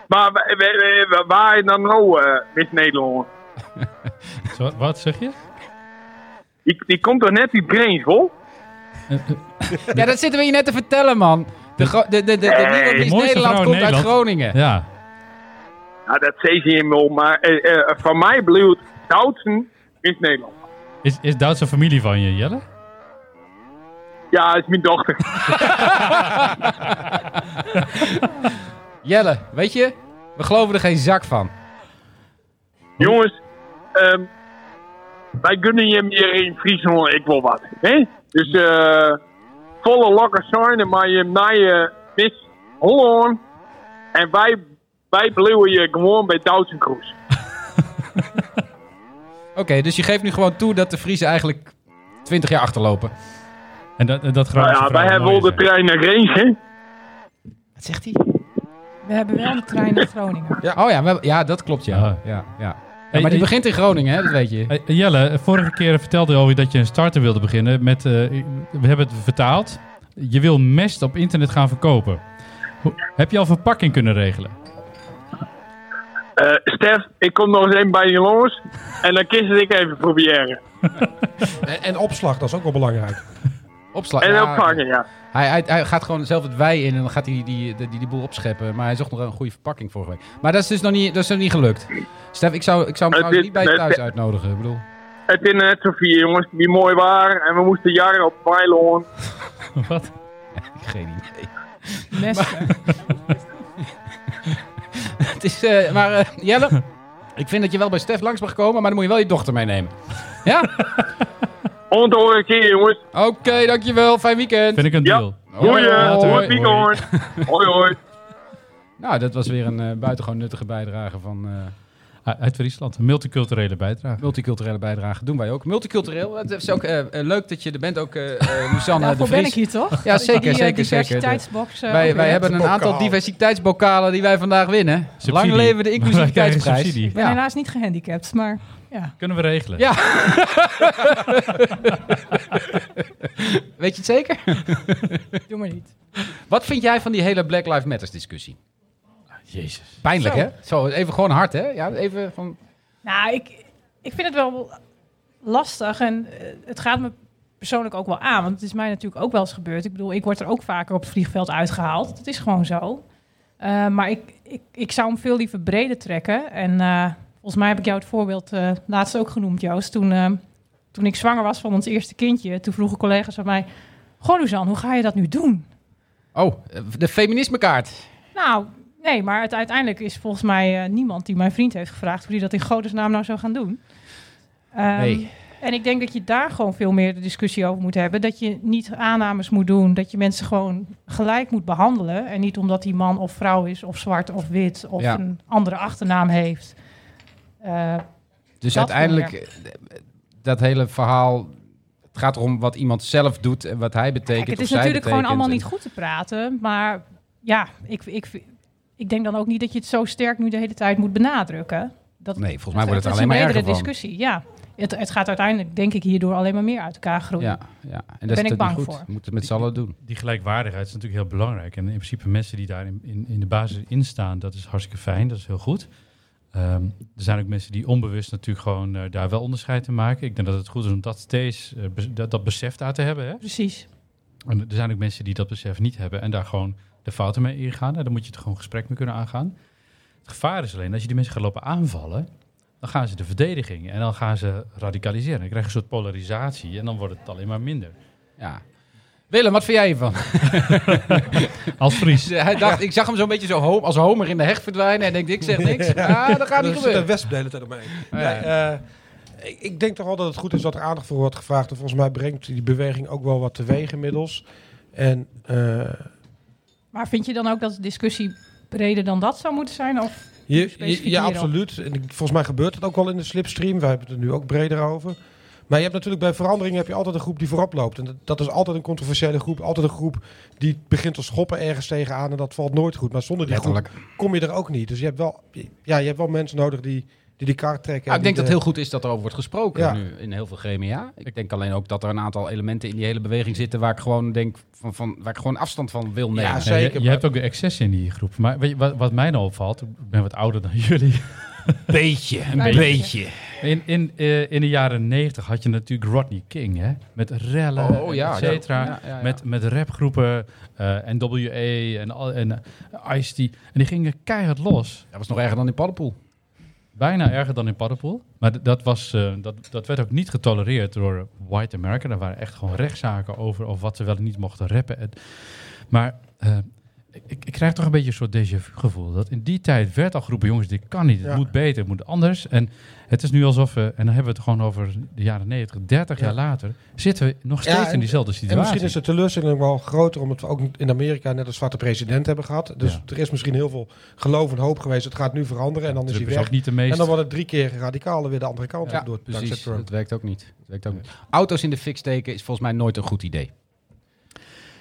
H: Maar wa- wa- wa- waar je dan nou, eh Miss Nederland?
D: Zo, wat zeg je?
H: Die, die komt toch net die brains, hoor?
A: Ja, dat zitten we je net te vertellen, man. De, gro- de, de, de, de
H: Nee.
A: nieuwe Miss
D: Mooiste
A: Nederland
D: vrouw in
A: komt uit
D: Nederland.
A: Groningen.
D: Ja.
H: Nou, dat zei ze hem wel, maar eh, eh, van mij bleef Duitsen Miss Nederland.
D: Is, is Duitse familie van je, Jelle?
H: Ja, dat is mijn dochter.
A: Jelle, weet je, we geloven er geen zak van.
H: Jongens, ehm, wij kunnen je meer in Friesland, ik wil wat. Hè? Dus eh, volle lokken zijn, maar je naar je Miss Holland. En wij, wij bleven je gewoon bij Duitsen Kroes.
A: Oké, dus je geeft nu gewoon toe dat de Friese eigenlijk 20 jaar achterlopen.
D: En dat, en dat
H: Nou
D: Groningse
H: ja, wij
D: vrouwen
H: hebben wel
D: mooier
H: de
D: zijn.
H: trein naar Reens, hè?
A: Wat zegt hij?
F: We hebben wel een trein naar
A: <laughs>
F: Groningen.
A: Oh ja, we hebben- ja, dat klopt, ja.
D: Ah.
A: ja, ja. ja
D: Hey,
A: maar die
D: hey.
A: begint in Groningen, hè, dat weet je.
D: Eh, Jelle, vorige keer vertelde je alweer dat je een starter wilde beginnen met... eh, we hebben het vertaald. Je wil mest op internet gaan verkopen. Hoe- heb je al verpakking kunnen regelen?
H: Eh, Stef, ik kom nog eens even bij je los. En dan kies ik even proberen.
E: En, en opslag, dat is ook wel belangrijk.
A: Opslag.
H: En
A: ja,
H: opvangen, ja.
A: hij, hij, hij gaat gewoon zelf het wij in en dan gaat hij die, die, die, die boel opscheppen. Maar hij zocht nog een goede verpakking vorige week. Maar dat is dus nog niet, dat is nog niet gelukt. Stef, ik zou, ik zou hem
H: Eh,
A: trouwens
H: dit-
A: niet bij je
H: eh,
A: thuis
H: dit-
A: uitnodigen. Ik bedoel,
H: Het is net zo vier jongens die mooi waren. En we moesten jaren op Weilon.
D: Wat?
A: geen idee. eh,
F: Messen.
A: <laughs> Het is, eh, maar eh,
F: <laughs>
A: Jelle, ik vind dat je wel bij Stef langs mag komen, maar dan moet je wel je dochter meenemen. Ja? <laughs>
H: Onthoor ik hier, jongens.
A: Oké, dankjewel. Fijn weekend.
D: Vind ik een
H: Ja.
D: deal.
H: Goeie,
A: Later.
H: hoi Piekorn. Hoi hoi.
A: Nou, dat was weer een eh, buitengewoon nuttige bijdrage van eh,
D: Ah, Uit Friesland. Een multiculturele bijdrage.
A: multiculturele bijdrage. Doen wij ook. Multicultureel. Het is ook eh, eh, leuk dat je er bent, ook eh
F: <laughs>
A: eh, Lucianne de
F: Daarvoor ben ik
A: Vries.
F: hier toch?
A: Ja, zeker,
F: die, eh,
A: zeker, zeker.
F: diversiteitsbox. eh, ook
A: Wij,
F: weer
A: wij
F: heb.
A: hebben een
E: bokaal.
A: aantal diversiteitsbokalen die wij vandaag winnen.
D: Subsidie.
A: Lang leven de
D: <laughs> Wij krijgen
A: inclusiviteitsprijs.
D: subsidie.
F: Ik ben
A: Ja.
F: helaas niet gehandicapt, maar <laughs> ja.
D: Kunnen we regelen?
A: Ja. Weet je het zeker?
F: Doe maar niet.
A: Wat vind jij van die hele Black Lives Matters discussie?
D: Jezus.
A: Pijnlijk,
F: Zo.
A: hè? Zo, even gewoon hard, hè? Ja, even van...
F: Nou, ik, ik vind het wel lastig en eh, het gaat me persoonlijk ook wel aan. Want het is mij natuurlijk ook wel eens gebeurd. Ik bedoel, ik word er ook vaker op het vliegveld uitgehaald. Dat is gewoon zo. Eh, maar ik, ik, ik zou hem veel liever breder trekken. En eh, volgens mij heb ik jou het voorbeeld eh, laatst ook genoemd, Joost. Toen, eh, toen ik zwanger was van ons eerste kindje, toen vroegen collega's aan mij... Goh, Luzanne, hoe ga je dat nu doen?
A: Oh, de feminismekaart.
F: Nou, nee, maar het, uiteindelijk is volgens mij eh, niemand die mijn vriend heeft gevraagd... hoe die dat in godesnaam nou zou gaan doen. Ehm,
A: Nee.
F: En ik denk dat je daar gewoon veel meer de discussie over moet hebben. Dat je niet aannames moet doen. Dat je mensen gewoon gelijk moet behandelen. En niet omdat die man of vrouw is, of zwart of wit, of
A: Ja.
F: een andere achternaam heeft. Eh,
A: Dus
F: Dat
A: uiteindelijk, eh, dat hele verhaal... Het gaat erom wat iemand zelf doet en wat hij betekent.
F: kijk, het
A: of
F: is
A: zij
F: natuurlijk gewoon
A: betekent.
F: allemaal niet
A: En-
F: goed te praten. Maar ja, ik, ik, ik denk dan ook niet dat je het zo sterk nu de hele tijd moet benadrukken. Dat,
A: Nee, volgens mij
F: dat-
A: wordt het
F: dat is
A: alleen maar
F: een bredere
A: erger van.
F: discussie, ja. Het, het gaat uiteindelijk, denk ik, hierdoor alleen maar meer uit elkaar groeien.
A: Ja, ja. en dat
F: ben
A: is natuurlijk
F: ik bang
A: niet goed.
F: voor.
A: We moeten het met z'n allen doen.
D: Die gelijkwaardigheid is natuurlijk heel belangrijk. En in principe mensen die daar in, in, in de basis in staan, dat is hartstikke fijn. Dat is heel goed. Ehm, er zijn ook mensen die onbewust natuurlijk gewoon eh, daar wel onderscheid in maken. Ik denk dat het goed is om dat steeds, eh, bes- dat, dat besef daar te hebben. Hè?
F: Precies.
D: En er zijn ook mensen die dat besef niet hebben en daar gewoon de fouten mee ingaan. En dan moet je het gewoon gesprek mee kunnen aangaan. Het gevaar is alleen, als je die mensen gaat lopen aanvallen, dan gaan ze de verdediging en dan gaan ze radicaliseren. Dan krijg je een soort polarisatie en dan wordt het alleen maar minder.
A: Ja. Willem, wat vind jij hiervan?
D: Als Fries.
A: Hij dacht, ik zag hem zo'n beetje zo ho- als Homer in de hecht verdwijnen. En ik denk, ik zeg niks. Ah, dat gaat
E: Er
A: niet
E: zit een
A: gebeuren.
E: wesp de hele tijd omheen. Nee, eh, ik- ik denk toch wel dat het goed is dat er aandacht voor wordt gevraagd. En volgens mij brengt die beweging ook wel wat teweeg inmiddels. En eh,
F: Maar vind je dan ook dat de discussie breder dan dat zou moeten zijn? Of
E: Je,
F: specifiek
E: je- ja,
F: hierop.
E: absoluut. En ik- volgens mij gebeurt het ook wel in de slipstream. Wij hebben het er nu ook breder over. Maar je hebt natuurlijk bij veranderingen heb je altijd een groep die voorop loopt. En dat, dat is altijd een controversiële groep. Altijd een groep die begint te schoppen ergens tegenaan. En dat valt nooit goed. Maar zonder die groep kom je er ook niet. Dus je hebt wel, ja, je hebt wel mensen nodig die die, die kaart trekken.
A: Ah, ik
E: en
A: denk
E: die
A: dat
E: de-
A: heel goed is dat er over wordt gesproken
E: Ja.
A: nu in heel veel gremia. Ik denk alleen ook dat er een aantal elementen in die hele beweging zitten waar ik gewoon denk van, van waar ik gewoon afstand van wil nemen.
E: Ja,
D: Ja,
E: zeker.
D: je, je
E: maar-
D: hebt ook de excessen in die groep. Maar weet je, wat, wat mij nou opvalt, ik ben wat ouder dan <laughs> jullie.
A: beetje, een
F: Een beetje.
D: In, in, eh, in de jaren 90 had je natuurlijk Rodney King, hè? Met rellen,
A: Oh,
D: en
A: ja,
D: et cetera.
A: ja, ja, ja.
D: Met, met rapgroepen, eh NWA en, al- en eh, Ice-T. En die gingen keihard los.
A: Dat was nog erger dan in Paddenpoel.
D: Bijna erger dan in Paddepoel. Maar d- dat, was, eh, dat, dat werd ook niet getolereerd door White America. Daar waren echt gewoon rechtszaken over of wat ze wel en niet mochten rappen. En- Maar eh, ik, ik krijg toch een beetje een soort déjà vu gevoel. Dat in die tijd werd al geroepen, jongens, dit kan niet. Het
E: Ja.
D: moet beter, het moet anders. En het is nu alsof we, en dan hebben we het gewoon over de jaren 90, 30
E: Ja.
D: jaar later, zitten we nog
E: Ja,
D: steeds
E: en-
D: in diezelfde
E: En
D: situatie.
E: misschien is de teleurstelling wel groter omdat we ook in Amerika net een zwarte president hebben gehad. Dus
D: Ja.
E: er is misschien heel veel geloof en hoop geweest. Het gaat nu veranderen en dan is
D: Trump Dus
E: hij
D: is
E: weg.
D: ook niet de
E: En
D: meest...
E: dan wordt het drie keer radicaler weer de andere kant op door dankzij Trump.
A: Dat werkt ook niet. Dat werkt ook niet. Auto's in de fik steken is volgens mij nooit een goed idee.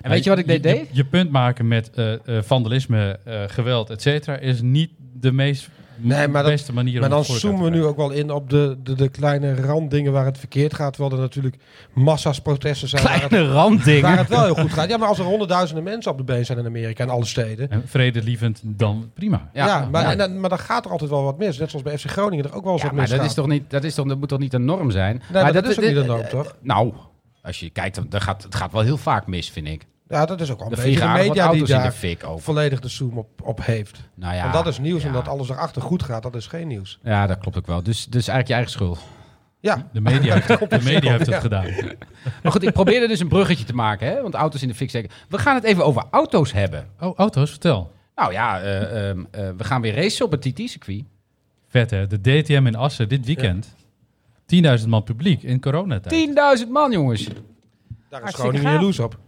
A: En weet je wat ik deed?
D: Je, je punt maken met eh, eh, vandalisme, eh, geweld, et cetera, is niet de meest
E: Nee, maar dat-
D: beste manier
E: Maar
D: om
E: dan
D: het voor elkaar
E: zoomen we
D: te
E: nu ook wel in op de, de, de kleine randdingen waar het verkeerd gaat. Terwijl er natuurlijk massa's protesten zijn waar het,
A: Kleine randdingen.
E: waar het wel heel goed gaat. Ja, maar als er honderdduizenden mensen op de been zijn in Amerika en alle steden.
D: krijgen. En vredelievend, dan prima.
E: Ja, maar,
A: ja.
E: en dan- maar dan gaat er altijd wel wat mis. Net zoals bij FC Groningen er ook wel eens
A: Ja,
E: wat
A: maar
E: mis
A: dat,
E: gaat.
A: is toch niet, dat, is toch, dat moet toch niet de norm zijn?
E: Nee, maar dat, is ook niet de norm, toch?
A: Nou, als je kijkt, dan dan gaat, het gaat wel heel vaak mis, vind ik.
E: Ja, dat is ook
A: Er
E: al een beetje de
A: vliegen aardig wat
E: media die
A: auto's in de
E: daar
A: fik over.
E: volledig de zoom op, op heeft.
A: Nou ja,
E: Want dat is nieuws
A: ja.
E: en dat alles erachter goed gaat, dat is geen nieuws.
A: Ja, dat klopt ook wel. Dus, dus eigenlijk je eigen schuld.
E: Ja,
D: De media heeft,
E: <laughs>
D: de media heeft het gedaan.
A: Maar goed, ik probeerde dus een bruggetje te maken, hè? want auto's in de fik steken. We gaan het even over auto's hebben.
D: Oh, auto's, vertel.
A: Nou ja, eh, ehm, eh, we gaan weer racen op het TT-circuit.
D: Vet hè, de DTM in Assen dit weekend. 10.000 man publiek in coronatijd.
A: 10.000 man, jongens.
E: daar is
F: Hartstikke
E: Groningen
F: gaaf.
E: jaloers op.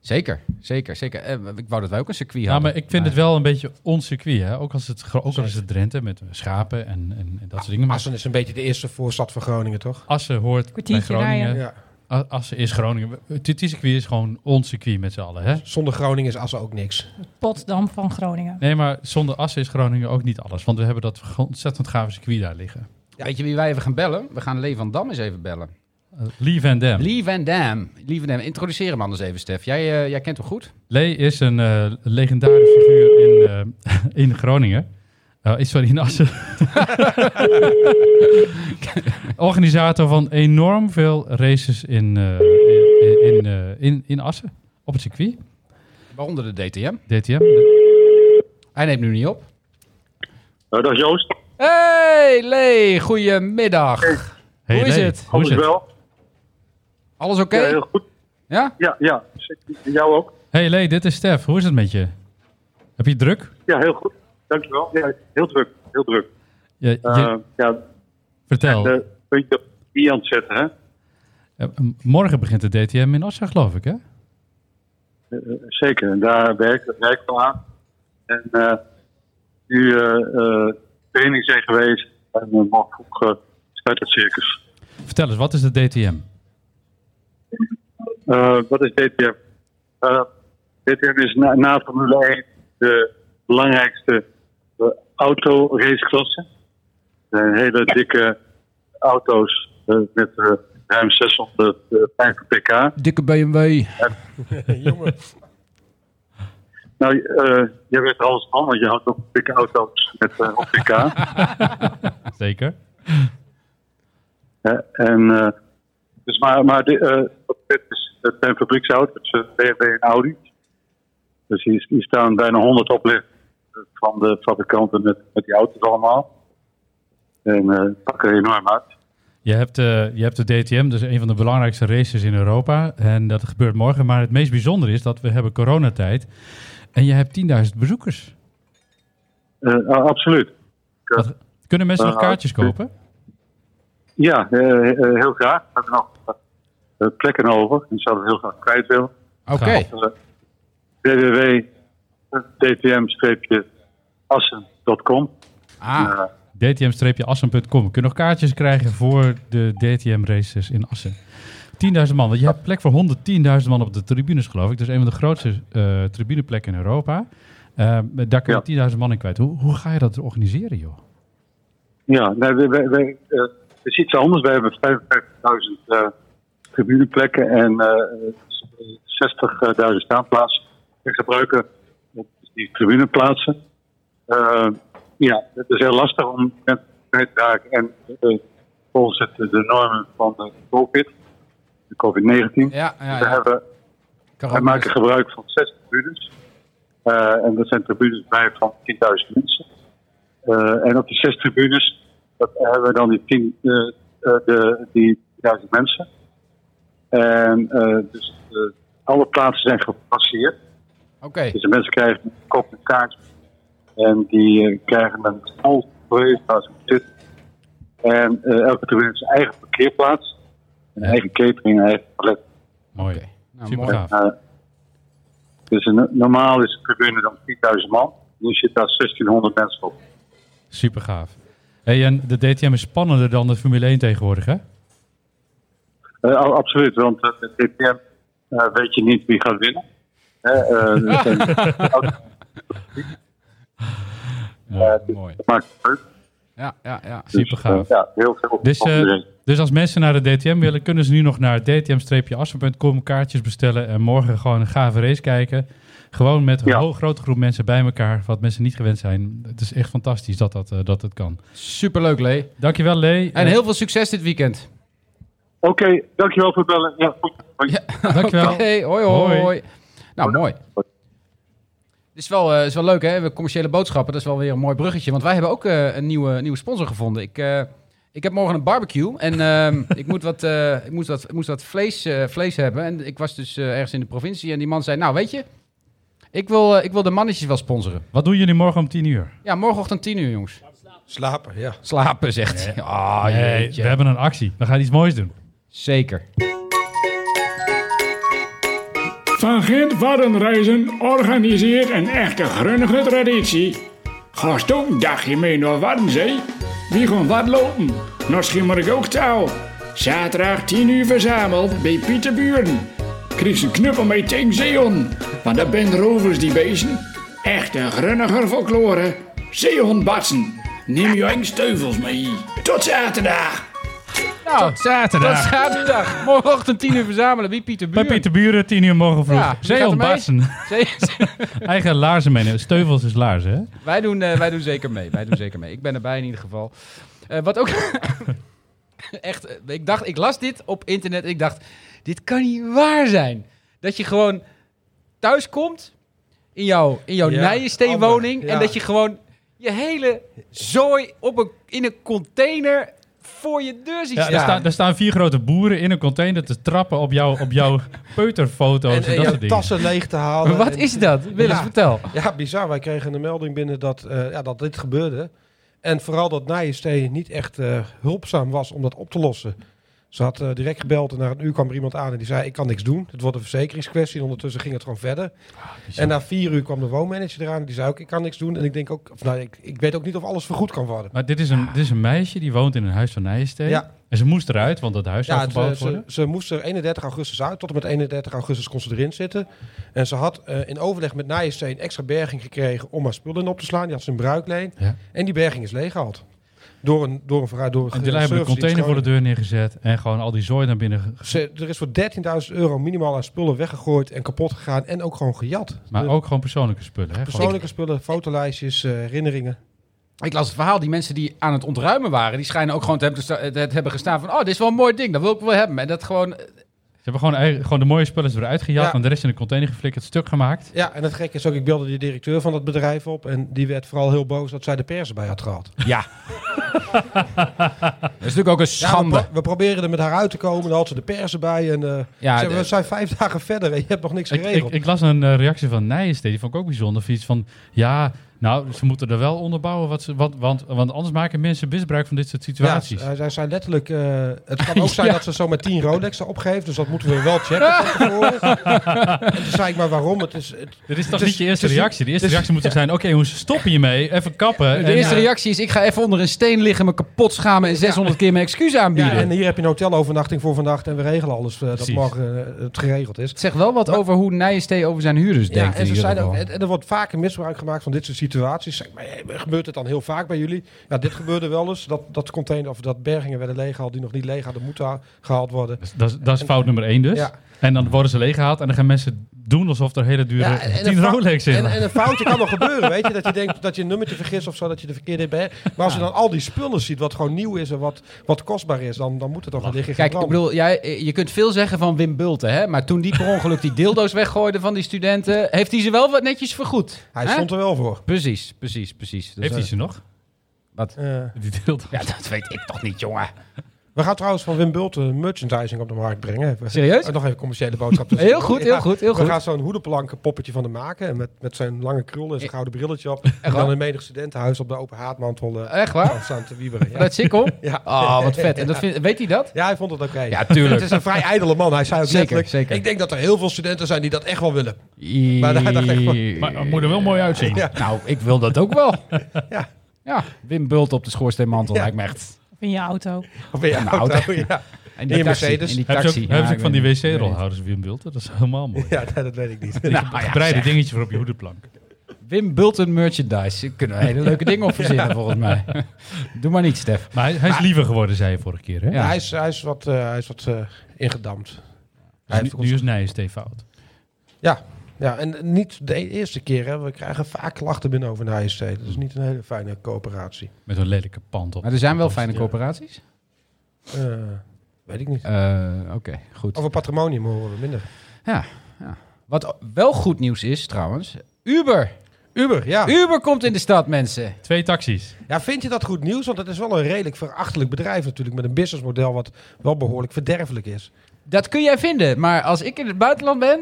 A: Zeker, zeker, zeker. Eh, ik wou dat wij ook een circuit
D: Ja,
A: hadden.
D: maar ik vind het wel een beetje ons circuit. Hè? Ook, als het, gro- ook al is het Drenthe met schapen en, en, en dat soort dingen. Maar
E: Assen is een beetje de eerste voorstad van Groningen, toch?
D: Assen hoort bij
F: Kwartiertje
D: Groningen.
F: rijden.
E: Ja.
D: A- Assen is Groningen. Het circuit is gewoon ons circuit met z'n allen. Hè?
E: Zonder Groningen is Assen ook niks.
F: Potsdam van Groningen?
D: Nee, maar zonder Assen is Groningen ook niet alles. Want we hebben dat ontzettend gave circuit daar liggen.
A: Weet je wie wij even gaan bellen? We gaan Lee van Dam eens even bellen.
D: Eh, Lee Van Dam.
A: Lee Van Dam. Lee Van Dam. Introduceer hem anders even, Stef. Jij, eh, jij kent hem goed?
D: Lee is een eh, legendarische figuur in, eh, <laughs> in Groningen. Eh, sorry,
A: <laughs>
D: in Assen. Organisator van enorm veel races in, eh, in, in, eh, in, in Assen. Op het circuit,
A: Waaronder de DTM.
D: DTM.
A: Hij neemt nu niet op.
H: Nou, dat is Joost.
A: Hey Lee, goedemiddag.
D: Hey,
A: Hoe is
D: Lee,
A: het?
D: Hoe is
H: Alles
D: het?
H: wel.
A: Alles oké?
H: Ja, heel goed.
A: Ja?
H: Ja, ja. Zeker. En jou ook?
D: Hey Lee, dit is Stef. Hoe is het met je? Heb je het druk?
H: Ja, heel goed. Dankjewel. Ja, heel druk. Heel druk.
D: Je, je-
H: Eh, ja,
D: vertel.
H: de puntje op i aan het zetten, hè?
D: Eh, m- morgen begint de DTM in Assen, geloof ik, hè?
H: Zeker, en daar werkt het werk van aan. En eh, nu eh, eh, training zijn geweest en uh, morgen vroeg eh, start het circus.
D: Vertel eens, wat is de DTM?
H: Eh, wat is DTM? Eh, DTM is na, na Formule 1 de belangrijkste eh, autoraceklasse. Er zijn hele dikke auto's eh, met eh, ruim 650 pk.
A: Dikke BMW.
E: Jongen.
H: Nou, eh jij weet er alles van, want je houdt ook dikke auto's met eh, op pk.
D: Zeker.
H: Ja, en, eh, dus maar, maar dit, eh, dit is, het zijn fabrieksauto's, het is eh, BMW en Audi. Dus hier, hier staan bijna 100 oplichten van eh, de fabrikanten met, met die auto's allemaal. En eh, het pakken enorm uit.
D: Je Je hebt, eh, je hebt de DTM, dat is een van de belangrijkste races in Europa. En dat gebeurt morgen. Maar het meest bijzondere is dat we hebben coronatijd. En je hebt 10.000 bezoekers.
H: Eh, ah, absoluut.
D: Wat- kunnen mensen nog
H: Ah,
D: kaartjes
H: dus-
D: kopen?
H: Ja, eh, eh, heel graag. We hebben nog eh, plekken over. Die zouden we heel graag kwijt willen.
A: Oké.
H: www.dtm-assen.com.
A: Ah,
H: Eh,
D: dtm-assen.com. Kun je nog kaartjes krijgen voor de DTM-races in Assen? 10.000 man, want je hebt plek voor 110.000 man op de tribunes, geloof ik. Dat is een van de grootste eh, tribuneplekken in Europa. Eh, daar kun je 10.000 man in kwijt. Hoe, hoe ga je dat organiseren, joh?
H: Ja, nee, wij, wij, wij, eh, het is iets anders. Wij hebben 55.000 eh tribuneplekken en eh 60.000 staanplaatsen. We gebruiken die tribuneplaatsen. Eh, ja, het is heel lastig om mensen te dragen en eh, volgens het, de normen van de COVID, de COVID-19.
A: ja, ja.
H: We
A: ja.
H: hebben wij
A: Corona
H: maken
A: is-
H: gebruik van zes tribunes. Eh, en dat zijn tribunes bij van 10.000 mensen. Eh, en op die zes tribunes dat hebben we dan die 10, eh, eh, de, die 10.000 mensen. En eh, dus eh, alle plaatsen zijn gepasseerd.
A: Oké,
H: Dus de mensen krijgen een kop en kaart. En die eh, krijgen een stal voor waar ze zitten. En eh, elke tribune heeft zijn eigen parkeerplaats. Een eigen catering, een eigen toilet.
D: Mooi.
A: Nou,
D: Super
A: mooi.
D: gaaf.
H: Eh, dus een- normaal is de tribune dan 4000 man. Nu zit daar 1600 mensen op.
D: Super gaaf. Hey, en de DTM is spannender dan de Formule 1 tegenwoordig,
H: Dus,
D: hè?
H: Eh, al- absoluut, want eh, de DTM eh, weet je niet wie gaat winnen. Hè,
D: <laughs>
H: eh, er zijn-
D: Ja, mooi.
H: dus dat maakt het leuk.
A: ja, ja, ja.
H: Dus,
D: Super gaaf.
H: eh, ja, heel veel
D: Dus, eh,
H: opmerkingen.
D: dus als mensen naar de DTM willen, kunnen ze nu nog naar dtm-assen.com kaartjes bestellen en morgen gewoon een gave race kijken. Gewoon met een
H: Ja.
D: ho- grote groep mensen bij elkaar, wat mensen niet gewend zijn. Het is echt fantastisch dat dat, eh, dat het kan.
A: Superleuk, Lee.
D: Dankjewel, Lee. Eh,
A: En heel veel succes dit weekend.
H: Oké, dankjewel voor het bellen. Ja, goed. Hoi.
D: Eh, dankjewel.
A: Oké, hoi, hoi,
D: Hoi.
A: Nou, mooi. Het is wel, eh, is wel leuk, hè? We hebben commerciële boodschappen, dat is wel weer een mooi bruggetje. Want wij hebben ook eh, een nieuwe, nieuwe sponsor gevonden. Ik, eh, ik heb morgen een barbecue en ehm, <laughs> ik moet wat, eh, ik moet wat, ik moest wat vlees, eh, vlees hebben. En ik was dus eh, ergens in de provincie en die man zei... Nou, weet je, ik wil, eh, ik wil de mannetjes wel sponsoren.
D: Wat doen jullie morgen om 10 uur?
A: Ja, morgenochtend 10 uur, jongens.
E: Slapen, ja.
A: Slapen, zegt hij. Ah,
D: Nee,
A: jeetje.
D: we hebben een actie. We gaan iets moois doen.
A: Zeker.
I: Van Gent Waddenreizen organiseert een echte grunnige traditie. Gaat ook een dagje mee naar Waddenzee? Wie gaan wat lopen? Nou schimmer ik ook touw. Zaterdag 10 uur verzameld bij Pieter Buren. Krijg een knuppel mee tegen Zeehon, want dat bent rovers die beesten. Echte grunniger folklore. Zeehon batsen. Neem je eigen steuvels mee. Tot zaterdag!
A: Nou,
D: Zaterdag.
A: tot zaterdag. Morgenochtend 10 uur verzamelen. Wie Pieter
D: Bij
A: Buren?
D: Pieter Buren, 10 uur morgen vroeg.
A: Ja, wie
D: Zeehond
A: gaat er mee?
D: Barsen.
A: Zee-
D: <laughs> Eigen laarzen meenemen. Steuvels is laarzen, hè?
A: wij, doen, eh, wij doen zeker mee. Wij doen zeker mee. Ik ben erbij in ieder geval. Eh, wat ook. <laughs> echt, eh, ik dacht, ik las dit op internet. Ik dacht, dit kan niet waar zijn. Dat je gewoon thuis komt in jouw, in jouw
E: Ja,
A: nijensteenwoning.
E: ander,
A: En
E: ja.
A: dat je gewoon je hele zooi op een, in een container voor je deur ziet
D: Ja,
A: staan.
D: er, staan, er staan vier grote boeren in een container te trappen op, jou, op
E: <laughs>
D: jouw peuterfoto's en,
E: en
D: dat
E: je
D: soort dingen.
E: tassen leeg te halen.
A: Wat
E: En-
A: is dat? Wil eens
E: Ja.
A: vertel.
E: Ja, bizar. Wij kregen een melding binnen dat, eh, ja, dat dit gebeurde. En vooral dat Nijenstee niet echt eh, hulpzaam was om dat op te lossen. Ze had eh, direct gebeld en na een uur kwam er iemand aan en die zei... ik kan niks doen, het wordt een verzekeringskwestie. En ondertussen ging het gewoon verder. en na vier uur kwam de woonmanager eraan en die zei ook... ik kan niks doen en ik, denk ook, of, nou, ik, ik weet ook niet of alles vergoed kan worden.
D: Maar dit is, een, dit is een meisje die woont in een huis van Nijensteeg.
E: Ja.
D: En ze moest eruit, want dat huis zou
E: Ja, eh,
D: gebouwd
E: ze, ze,
D: worden.
E: ze moest er 31 augustus uit. Tot en met 31 augustus kon ze erin zitten. En ze had eh, in overleg met Nijenstee een extra berging gekregen om haar spullen in op te slaan. Die had ze in bruikleen.
D: Ja.
E: En die berging is leeggehaald. Door een, door een, verra- door een
D: En die hebben een
E: service
D: container voor de
E: dienst
D: deur neergezet en gewoon al die zooi naar binnen. ge- ge-
E: Groningen. Ze- Er is voor 13.000 euro minimaal aan spullen weggegooid en kapot gegaan. En ook gewoon gejat.
D: Maar
E: De
D: ook gewoon persoonlijke spullen. Hè? Gewoon-
E: persoonlijke spullen, fotolijstjes, eh, herinneringen.
A: Ik las het verhaal, die mensen die aan het ontruimen waren, die schijnen ook gewoon te hebben, gesta- te hebben gestaan van, oh, dit is wel een mooi ding, dat wil ik wel hebben. En dat gewoon,
D: ze hebben gewoon, eigen- gewoon de mooie spullen eruit gehaald
E: Ja.
D: en de rest in een container geflikkerd, stuk gemaakt.
E: Ja, en het gekke is ook, ik belde die directeur van dat bedrijf op. En die werd vooral heel boos dat zij de pers bij had gehad.
A: Ja. dat is natuurlijk ook een
E: Ja, we pro-
A: schande.
E: we, proberen er met haar uit te komen. Dan had ze de persen bij. En, eh,
A: Ja,
E: ik zeg,
A: de-
E: we zijn vijf dagen verder en je hebt nog niks
D: Ik, ik,
E: geregeld.
D: ik las een eh, reactie van Nijensteed, die vond ik ook bijzonder. Of iets van, ja, nou, ze moeten er wel onderbouwen, wat ze, wat, want, want anders maken mensen misbruik van dit soort
E: ja,
D: situaties.
E: ze- zij zijn letterlijk. eh,
D: <laughs>
E: het kan ook zijn
D: Ja.
E: dat ze zo met tien Rolexen opgeeft. Dus dat moeten we wel checken.
D: <laughs>
E: van tevoren. en toen zei ik maar waarom. Het is, het-
D: Dit is toch
E: Het is-
D: niet je eerste
E: het is-
D: reactie? De eerste
E: het is-
D: reactie moet toch zijn, oké, hoe stop je mee? Even kappen.
A: De
D: En-
A: eerste
D: ja.
A: reactie is: ik ga even onder een steen liggen, me kapot schamen en 600 keer mijn excuus
E: ja,
A: aanbieden.
E: en hier heb je een hotelovernachting voor vannacht. En we regelen alles eh, dat
D: Precies.
E: morgen eh, het geregeld is.
A: Het zegt wel wat over hoe Nijenstee over zijn huurders
E: Ja,
A: denkt.
E: en,
A: in
E: ze
A: ieder
E: zeiden ook,
A: geval.
E: en en er wordt vaker misbruik gemaakt van dit soort situaties. Zeg maar, hey, gebeurt het dan heel vaak bij jullie? Ja, dit gebeurde wel eens. Dat, dat container of dat bergingen werden leeggehaald die nog niet leeg hadden moeten ha- gehaald worden.
D: Dat is- Dat is, dat is fout nummer één dus.
E: Ja.
D: En dan worden ze leeggehaald en dan gaan mensen doen alsof er hele dure
E: Ja,
D: tien
E: een fou-
D: Rolex in.
E: en, en een foutje kan wel gebeuren, weet je? Dat je denkt dat je een nummertje vergist of zo, dat je de verkeerde bent. Maar als je dan al die spullen ziet, wat gewoon nieuw is en wat, wat kostbaar is, dan, dan moet het toch wel liggen.
A: Kijk, ik
E: gebrand.
A: bedoel, jij, je kunt veel zeggen van Wim Bulten, hè? maar toen die per ongeluk die dildo's weggooide van die studenten, heeft hij ze wel wat netjes vergoed.
E: Hij
A: hè?
E: stond er wel voor.
A: Precies, precies, precies. Dus,
D: Heeft hij
A: eh,
D: ze nog?
E: Eh,
D: Die deelt.
A: Ja, dat weet ik toch niet, jongen.
E: we gaan trouwens van Wim Bulten merchandising op de markt brengen. We-
A: Serieus?
E: Eh, nog even commerciële boodschap. tussen-
A: Heel goed, heel
E: Ja.
A: goed, heel
E: We
A: goed.
E: gaan zo'n hoedenplanken poppetje van hem maken. En met, met zijn lange krullen en zijn gouden brilletje op. En
A: waar?
E: dan in menig studentenhuis op de open haatmantel eh,
A: Echt waar?
E: staan te wieberen. Ja.
A: Dat is ik hoor.
E: Ja.
A: Oh, wat vet. En dat vind- weet hij dat?
E: ja, hij vond het oké.
A: Ja,
E: Het
A: tuurlijk.
E: is een vrij ijdele man. Hij zei ook
A: Zeker,
E: letterlijk,
A: zeker.
E: ik denk dat er heel veel studenten zijn die dat echt wel willen. Maar hij dacht echt van-
D: Maar het moet er wel mooi uitzien.
E: Ja.
A: Nou, ik wil dat ook wel.
E: <laughs> Ja.
A: Ja, Wim Bult op de schoorsteenmantel
E: Ja.
A: lijkt me echt.
F: Of in je auto.
E: Of in je
A: Nou,
E: auto,
A: dat-
E: <laughs> ja.
A: En
E: In
A: taxi,
E: Mercedes.
A: in die
D: Hebben ze
A: taxi.
D: ook, hebben ze
A: Ja,
D: ook van die
A: ik weet-
D: wc-rolhouders Wim Bulten? Dat is helemaal
E: <laughs>
D: mooi.
E: ja, nee, dat weet ik niet.
A: Nou, ja,
D: Breid een
A: zeg.
D: dingetje voor op je hoedenplank.
A: Wim Bulten merchandise. Daar kunnen we hele leuke dingen
E: <laughs>
A: op verzinnen, volgens mij. <laughs> Doe maar niet, Stef.
D: Maar hij, hij is liever geworden, zei je vorige keer. Hè?
A: Ja.
E: Hij is, hij is wat, eh, hij is wat eh, ingedampt.
D: Dus
E: Hij
D: nu,
E: heeft
D: nu
E: ons-
D: is Nijensteef fout.
E: ja, ja, en niet de eerste keer. Hè. We krijgen vaak klachten binnen over de IST. Dat is niet een hele fijne coöperatie.
D: Met een lelijke pand op.
A: Maar er zijn wel fijne coöperaties.
E: Eh, weet ik niet.
A: Eh, Oké, goed.
E: Over patrimonium horen we minder.
A: Wat wel goed nieuws is, trouwens. Uber.
E: Uber, ja.
A: Uber komt in de stad, mensen.
D: Twee taxis.
E: Ja, vind je dat goed nieuws? Want het is wel een redelijk verachtelijk bedrijf natuurlijk. Met een businessmodel wat wel behoorlijk verderfelijk is.
A: Dat kun jij vinden. Maar als ik in het buitenland ben,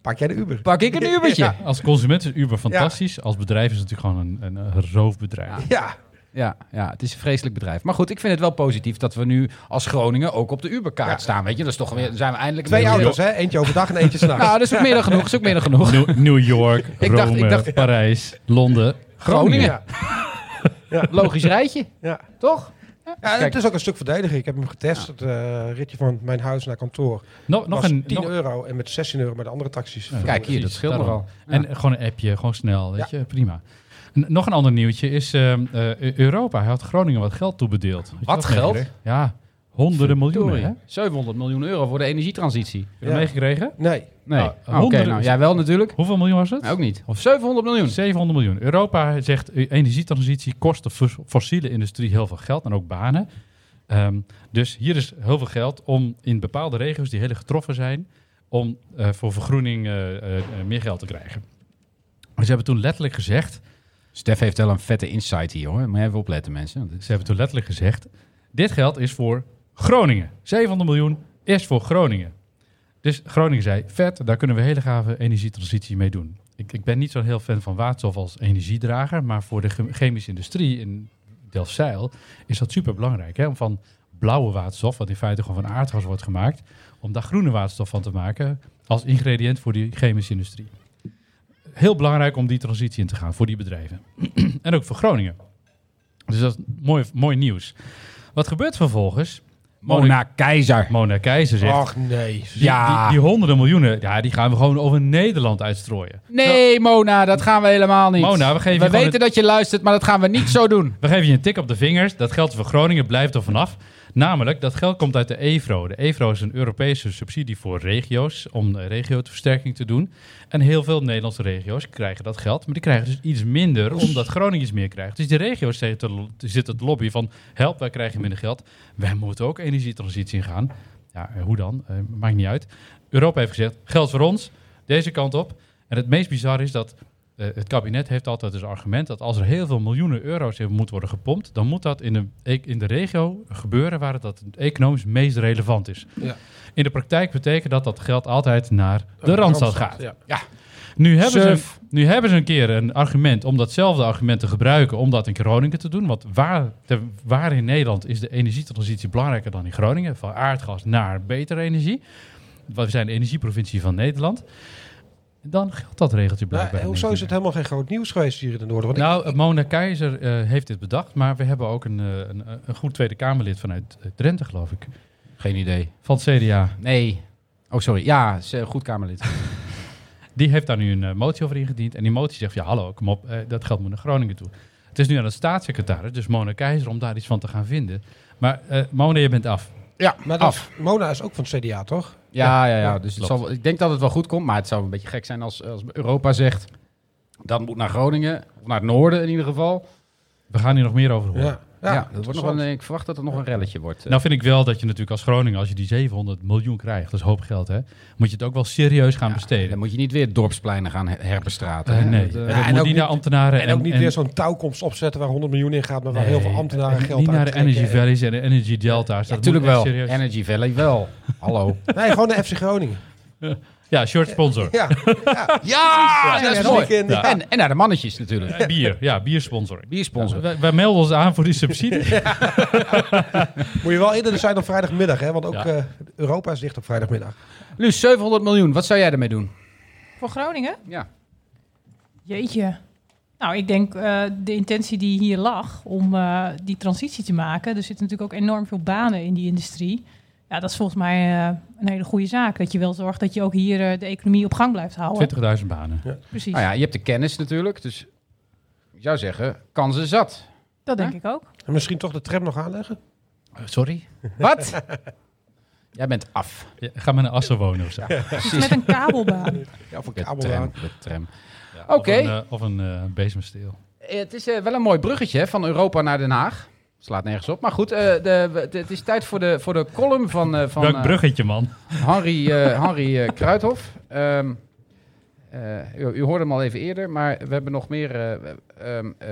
E: Pak jij de Uber?
A: pak
E: <laughs>
A: ik een Ubertje.
E: Ja.
A: Ja.
D: Als consument is Uber fantastisch. Als bedrijf is het natuurlijk gewoon een, een, eh, roofbedrijf.
E: Ja.
A: Ja, het is een vreselijk bedrijf. Maar goed, ik vind het wel positief dat we nu als Groningen ook op de Uberkaart staan. Weet je, dat is toch weer, dan zijn we eindelijk...
E: Twee
A: weer-
E: auto's, hè? Eentje overdag en eentje s'nachts.
A: Nou, dat is ook meer dan genoeg. Dat is ook meer dan genoeg.
D: New, New York, Rome,
A: dacht- <laughs> ik dacht-
D: Parijs, Londen.
A: Groningen.
E: Ja.
A: Logisch rijtje,
E: Ja.
A: toch?
E: Ja, en
A: Kijk.
E: het is ook een stuk verdedigen. Ik heb hem getest. Het eh, ritje van mijn huis naar kantoor
D: Nog, nog
E: was
D: een...
E: 10
D: nog-
E: euro. En met 16 euro met de andere taxis.
A: Kijk hier, dat
D: Precies,
A: scheelt
D: daarom.
A: nogal.
D: En gewoon een appje, gewoon snel, weet je, prima. N- nog een ander nieuwtje is ehm, eh, Europa. Hij had Groningen wat geld toebedeeld. Had je
A: Wat
D: dat
A: geld?
D: meegekregen? Ja, honderden miljoenen. Hè?
A: Sorry. 700 miljoen euro voor de energietransitie.
D: Heb je dat
E: Ja.
D: meegekregen?
E: Nee.
A: Nee.
D: Nou,
A: Oké,
D: honderden-
A: nou, jij wel natuurlijk.
D: Hoeveel miljoen was het?
A: Maar Nou, ook niet. Of 700 miljoen.
D: 700 miljoen. Europa zegt eh, energietransitie kost de fos- fossiele industrie heel veel geld en ook banen. Ehm, dus hier is heel veel geld om in bepaalde regio's die heel erg getroffen zijn, om eh, voor vergroening eh, eh, eh, meer geld te krijgen. Ze hebben toen letterlijk gezegd,
A: Stef heeft wel een vette insight hier hoor. Moet je even opletten mensen. Want dit
D: Ze
A: is-
D: hebben toen letterlijk gezegd: dit geld is voor Groningen. 700 miljoen is voor Groningen. Dus Groningen zei: vet, daar kunnen we hele gave energietransitie mee doen. Ik, ik ben niet zo'n heel fan van waterstof als energiedrager, maar voor de chem- chemische industrie in Delfzijl is dat super belangrijk. Hè? Om van blauwe waterstof, wat in feite gewoon van aardgas wordt gemaakt, om daar groene waterstof van te maken als ingrediënt voor die chemische industrie. Heel belangrijk om die transitie in te gaan voor die bedrijven. <clears throat> en ook voor Groningen. Dus dat is mooi, mooi nieuws. Wat gebeurt vervolgens?
A: Mona Keizer.
D: Mona Keizer zegt...
E: Ach nee.
D: die,
A: ja.
D: die, die honderden miljoenen, ja, die gaan we gewoon over Nederland uitstrooien.
A: Nee Mona, dat gaan we helemaal niet.
D: Nou- Mona, we geven je
A: we
D: gewoon
A: weten dat je luistert, maar dat gaan we niet zo doen.
D: We geven je een tik op de vingers. Dat geldt voor Groningen, blijft er vanaf. Namelijk, dat geld komt uit de EVRO. De EVRO is een Europese subsidie voor regio's om de regioversterking te doen. En heel veel Nederlandse regio's krijgen dat geld. Maar die krijgen dus iets minder, omdat Groningen iets meer krijgt. Dus die regio's zitten- zitten het lobby van, help, wij krijgen minder geld. Wij moeten ook energietransitie ingaan. Ja, eh, hoe dan? Eh, maakt niet uit. Europa heeft gezegd, geld voor ons, deze kant op. En het meest bizar is dat eh, het kabinet heeft altijd als argument dat als er heel veel miljoenen euro's in moet worden gepompt, dan moet dat in de, e- in de regio gebeuren waar het dat economisch meest relevant is.
E: Ja.
D: In de praktijk betekent dat dat geld altijd naar de Randstad gaat.
E: Ja.
D: Nu hebben, ze een,
A: Surf.
D: nu hebben ze een keer een argument om datzelfde argument te gebruiken om dat in Groningen te doen. Want waar, ter- waar in Nederland is de energietransitie belangrijker dan in Groningen? Van aardgas naar betere energie. Want we zijn de energieprovincie van Nederland. Dan geldt dat regeltje
E: Nou,
D: blijkbaar.
E: hoezo
D: niet
E: is het helemaal geen groot nieuws geweest hier in het noorden? Want ik-
D: nou, Mona Keizer eh, heeft dit bedacht, maar we hebben ook een, eh, een, een goed Tweede Kamerlid vanuit eh, Drenthe, geloof ik.
A: Geen idee.
D: Van het CDA.
A: Nee. Oh, sorry. Ja, ze- goed Kamerlid.
D: Die heeft daar nu een eh, motie over ingediend. En die motie zegt, ja hallo, kom op, eh, dat geld moet naar Groningen toe. Het is nu aan de staatssecretaris, dus Mona Keizer, om daar iets van te gaan vinden. Maar eh Mona, je bent af.
A: ja,
E: maar dat, Mona is ook van het CDA, toch?
A: Ja, ja, ja. Dus het
D: klopt.
A: zal, wel- ik denk dat het wel goed komt, maar het zou een beetje gek zijn als, als Europa zegt... dat moet naar Groningen, of naar het noorden in ieder geval.
D: We gaan hier nog meer over horen.
A: Ja, dat wordt nog
E: interessant.
A: wel een, ik verwacht dat er nog een relletje wordt. eh.
D: Nou vind ik wel dat je natuurlijk als Groningen, als je die 700 miljoen krijgt, dat is hoop geld hè, moet je het ook wel serieus gaan besteden.
A: Eh, dan moet je niet weer dorpspleinen gaan her- herbestraten.
D: Eh,
A: hè.
D: nee,
A: Dat, eh,
D: en
E: en
D: dat moet
E: ook
D: niet naar ambtenaren.
E: En, ook niet weer zo'n touwkomst opzetten waar 100 miljoen in gaat, maar waar
D: Nee,
E: heel veel ambtenaren
D: en
E: geld
D: Niet naar de
E: uittrekken.
D: Energy Valleys en de Energy Delta's.
A: ja,
D: Dat
A: tuurlijk
D: moet echt
A: wel.
D: serieus-
A: Energy Valley wel. <laughs> Hallo.
E: Nee, gewoon de
D: <laughs>
E: FC Groningen.
D: Ja, short sponsor.
E: Ja,
A: ja, dat is mooi.
E: weekend.
A: Ja. En, en naar de mannetjes natuurlijk.
D: Eh, Bier, ja, biersponsor.
A: Biersponsor.
D: Wij, wij melden ons aan voor die subsidie.
E: Moet je wel eerder zijn op vrijdagmiddag, hè? Want ook
D: Ja.
E: eh, Europa is dicht op vrijdagmiddag.
A: Luus, 700 miljoen. Wat zou jij ermee doen?
F: Voor Groningen?
A: Ja.
F: Jeetje. Nou, ik denk eh, de intentie die hier lag om eh, die transitie te maken. Er zitten natuurlijk ook enorm veel banen in die industrie. Ja, dat is volgens mij eh, een hele goede zaak. Dat je wel zorgt dat je ook hier eh, de economie op gang blijft houden.
D: 20.000 banen.
F: Precies.
A: Nou ja, je hebt de kennis natuurlijk. Dus ik zou zeggen, kansen zat.
F: Dat denk ik ook.
E: En misschien toch de tram nog aanleggen?
A: Sorry? Wat? jij bent af.
D: Ja, ga maar naar Assen wonen of zo.
F: Iets met een kabelbaan.
E: Ja, voor
A: De
E: kabelbaan.
A: tram. De tram.
D: Ja,
A: Oké.
D: Of een, eh, of een eh, bezemsteel.
A: Eh, Het is eh, wel een mooi bruggetje hè, van Europa naar Den Haag. Slaat nergens op. Maar goed, eh, de, we- de- het is tijd voor de, voor de column van, eh, van
D: Welk
A: eh,
D: bruggetje,
A: <laughs>
D: man.
A: Henry, eh, Henry eh, Kruithof. Ehm, eh, u, u hoorde hem al even eerder, maar we hebben nog meer. eh, ehm, eh,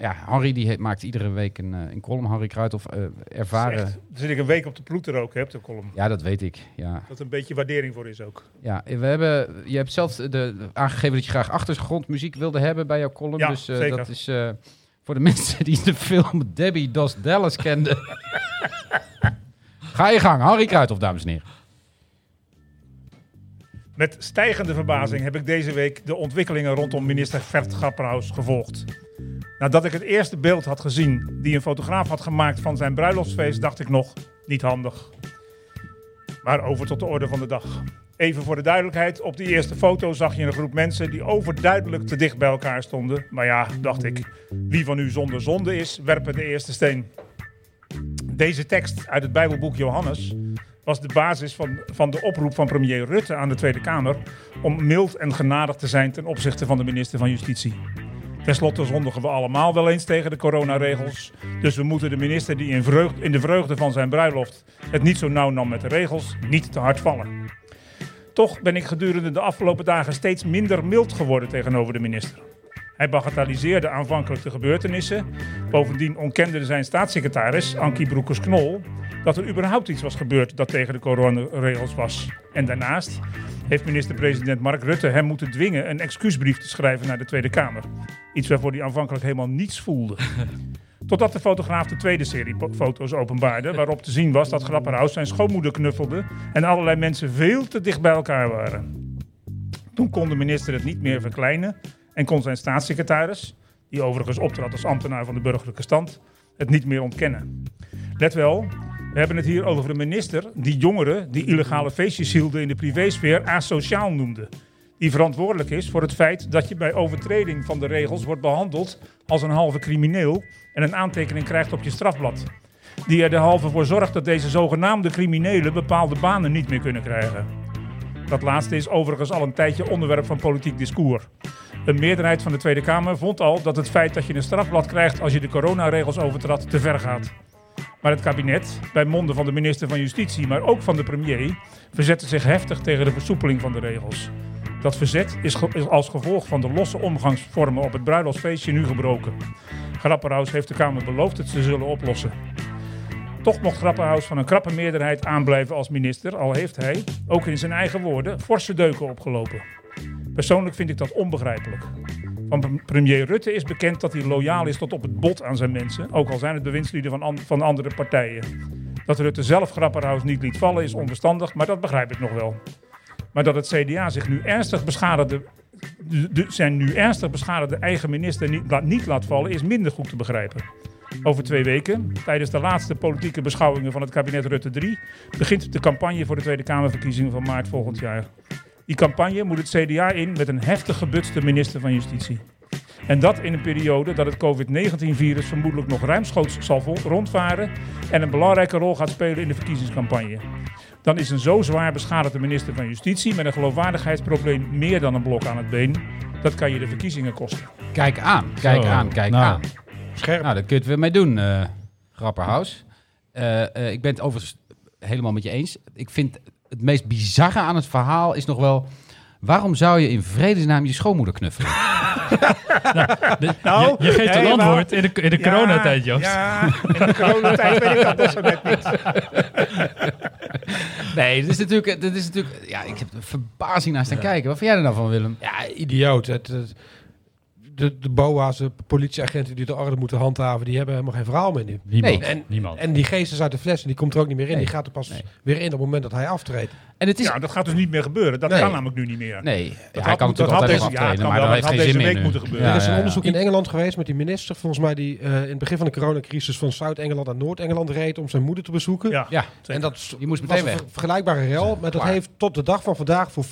A: ja, Henry die he- maakt iedere week een, eh, een column. Henry Kruithof, eh, ervaren.
G: Echt, Dan zit ik een week op de ploet er ook, hè, op de column.
A: Ja, dat weet ik. Ja.
G: Dat een beetje waardering voor is ook.
A: Ja, we hebben, je hebt zelf de, de- aangegeven dat je graag achtergrondmuziek wilde hebben bij jouw column.
G: Ja,
A: dus eh,
G: zeker.
A: dat is eh, voor de <laughs> mensen die de film Debbie Does Dallas
G: <laughs>
A: kenden. Ga je gang, Harry Kruithof, dames en heren.
G: Met stijgende verbazing heb ik deze week de ontwikkelingen rondom minister Vert Grapperhaus gevolgd. Nadat ik het eerste beeld had gezien die een fotograaf had gemaakt van zijn bruiloftsfeest, dacht ik nog, niet handig. Maar over tot de orde van de dag. Even voor de duidelijkheid, op die eerste foto zag je een groep mensen die overduidelijk te dicht bij elkaar stonden. Maar ja, dacht ik, wie van u zonder zonde is, werpen de eerste steen. Deze tekst uit het Bijbelboek Johannes was de basis van, van de oproep van premier Rutte aan de Tweede Kamer om mild en genadig te zijn ten opzichte van de minister van Justitie. Ten slotte zondigen we allemaal wel eens tegen de coronaregels. Dus we moeten de minister die in, vreugd, in de vreugde van zijn bruiloft het niet zo nauw nam met de regels, niet te hard vallen. Toch ben ik gedurende de afgelopen dagen steeds minder mild geworden tegenover de minister. Hij bagatelliseerde aanvankelijk de gebeurtenissen. Bovendien ontkende zijn staatssecretaris, Ankie Broekers-Knol, dat er überhaupt iets was gebeurd dat tegen de coronaregels was. En daarnaast heeft minister-president Mark Rutte hem moeten dwingen een excuusbrief te schrijven naar de Tweede Kamer. Iets waarvoor hij aanvankelijk helemaal niets voelde. <laughs> Totdat de fotograaf de tweede serie po- foto's openbaarde, waarop te zien was dat Grapperhaus zijn schoonmoeder knuffelde en allerlei mensen veel te dicht bij elkaar waren. Toen kon de minister het niet meer verkleinen en kon zijn staatssecretaris, die overigens optrad als ambtenaar van de burgerlijke stand, het niet meer ontkennen. Let wel, we hebben het hier over een minister die jongeren die illegale feestjes hielden in de privésfeer asociaal noemde. Die verantwoordelijk is voor het feit dat je bij overtreding van de regels wordt behandeld als een halve crimineel en een aantekening krijgt op je strafblad. Die er derhalve voor zorgt dat deze zogenaamde criminelen bepaalde banen niet meer kunnen krijgen. Dat laatste is overigens al een tijdje onderwerp van politiek discours. Een meerderheid van de Tweede Kamer vond al dat het feit dat je een strafblad krijgt als je de coronaregels overtrad te ver gaat. Maar het kabinet, bij monden van de minister van Justitie, maar ook van de premier, verzette zich heftig tegen de versoepeling van de regels. Dat verzet is, ge- is als gevolg van de losse omgangsvormen op het bruiloftsfeestje nu gebroken. Grapperhaus heeft de Kamer beloofd het te zullen oplossen. Toch mocht Grapperhaus van een krappe meerderheid aanblijven als minister, al heeft hij, ook in zijn eigen woorden, forse deuken opgelopen. Persoonlijk vind ik dat onbegrijpelijk. Van pre- premier Rutte is bekend dat hij loyaal is tot op het bot aan zijn mensen, ook al zijn het bewindslieden van, an- van andere partijen. Dat Rutte zelf Grapperhaus niet liet vallen is onverstandig, maar dat begrijp ik nog wel. Maar dat het CDA zich nu ernstig beschadigde, de- de- zijn nu ernstig beschadigde eigen minister niet, laat- niet laat vallen, is minder goed te begrijpen. Over twee weken, tijdens de laatste politieke beschouwingen van het kabinet Rutte 3, begint de campagne voor de Tweede Kamerverkiezingen van maart volgend jaar. Die campagne moet het CDA in met een heftig gebutste minister van Justitie. En dat in een periode dat het COVID-19-virus vermoedelijk nog ruimschoots zal vo- rondvaren en een belangrijke rol gaat spelen in de verkiezingscampagne. Dan is een zo zwaar beschadigde minister van Justitie met een geloofwaardigheidsprobleem meer dan een blok aan het been. Dat kan je de verkiezingen kosten.
A: Kijk aan, kijk
D: Zo.
A: aan, kijk
D: Nou.
A: aan.
E: Scherp.
A: Nou, daar kun je het weer mee doen, eh Grapperhaus. Eh, eh, ik ben het overigens helemaal met je eens. Ik vind het meest bizarre aan het verhaal is nog wel... waarom zou je in vredesnaam je schoonmoeder knuffelen?
D: je, je geeft een
G: nee, maar-
D: antwoord in de, in de coronatijd, Joost.
G: Ja, in de coronatijd weet ik dat nog zo net niet.
A: Nee, dit is natuurlijk... Dit is natuurlijk ja, ik heb er verbazing naar staan kijken. Wat vind jij er nou van, Willem?
E: <laughs> Ja, idioot. Het, het- de, de BOA's, de politieagenten die de orde moeten handhaven, die hebben helemaal geen verhaal meer nu.
D: Niemand.
A: Nee.
E: En-
D: niemand.
E: En die geest is uit de fles en die komt er ook niet meer in.
A: Nee.
E: Die gaat er pas
A: Nee.
E: weer in op het moment dat hij aftreedt.
A: En het is...
G: Ja, dat gaat dus niet meer gebeuren. Dat
A: Nee.
G: kan namelijk nu niet meer.
A: nee, ja,
G: had
A: hij kan
G: moeten-
A: natuurlijk
G: dat had
A: altijd
G: deze-
A: nog
G: ja, het
A: aftreden,
G: kan
A: maar
G: wel,
A: dat
G: dat
A: heeft geen
G: had
A: zin
G: deze
A: meer
G: week
A: nu.
G: moeten gebeuren.
A: Ja,
E: er is
A: ja,
E: een
A: ja.
E: onderzoek in Engeland geweest met die minister, volgens mij, die eh, in het begin van de coronacrisis van Zuid-Engeland naar Noord-Engeland reed om zijn moeder te bezoeken.
G: Ja.
A: Ja,
E: En dat is-
A: Je moest
E: was
A: meteen
E: een
A: weg.
E: ver- vergelijkbare rel, maar dat
A: Klaar.
E: heeft tot de dag van vandaag voor 40%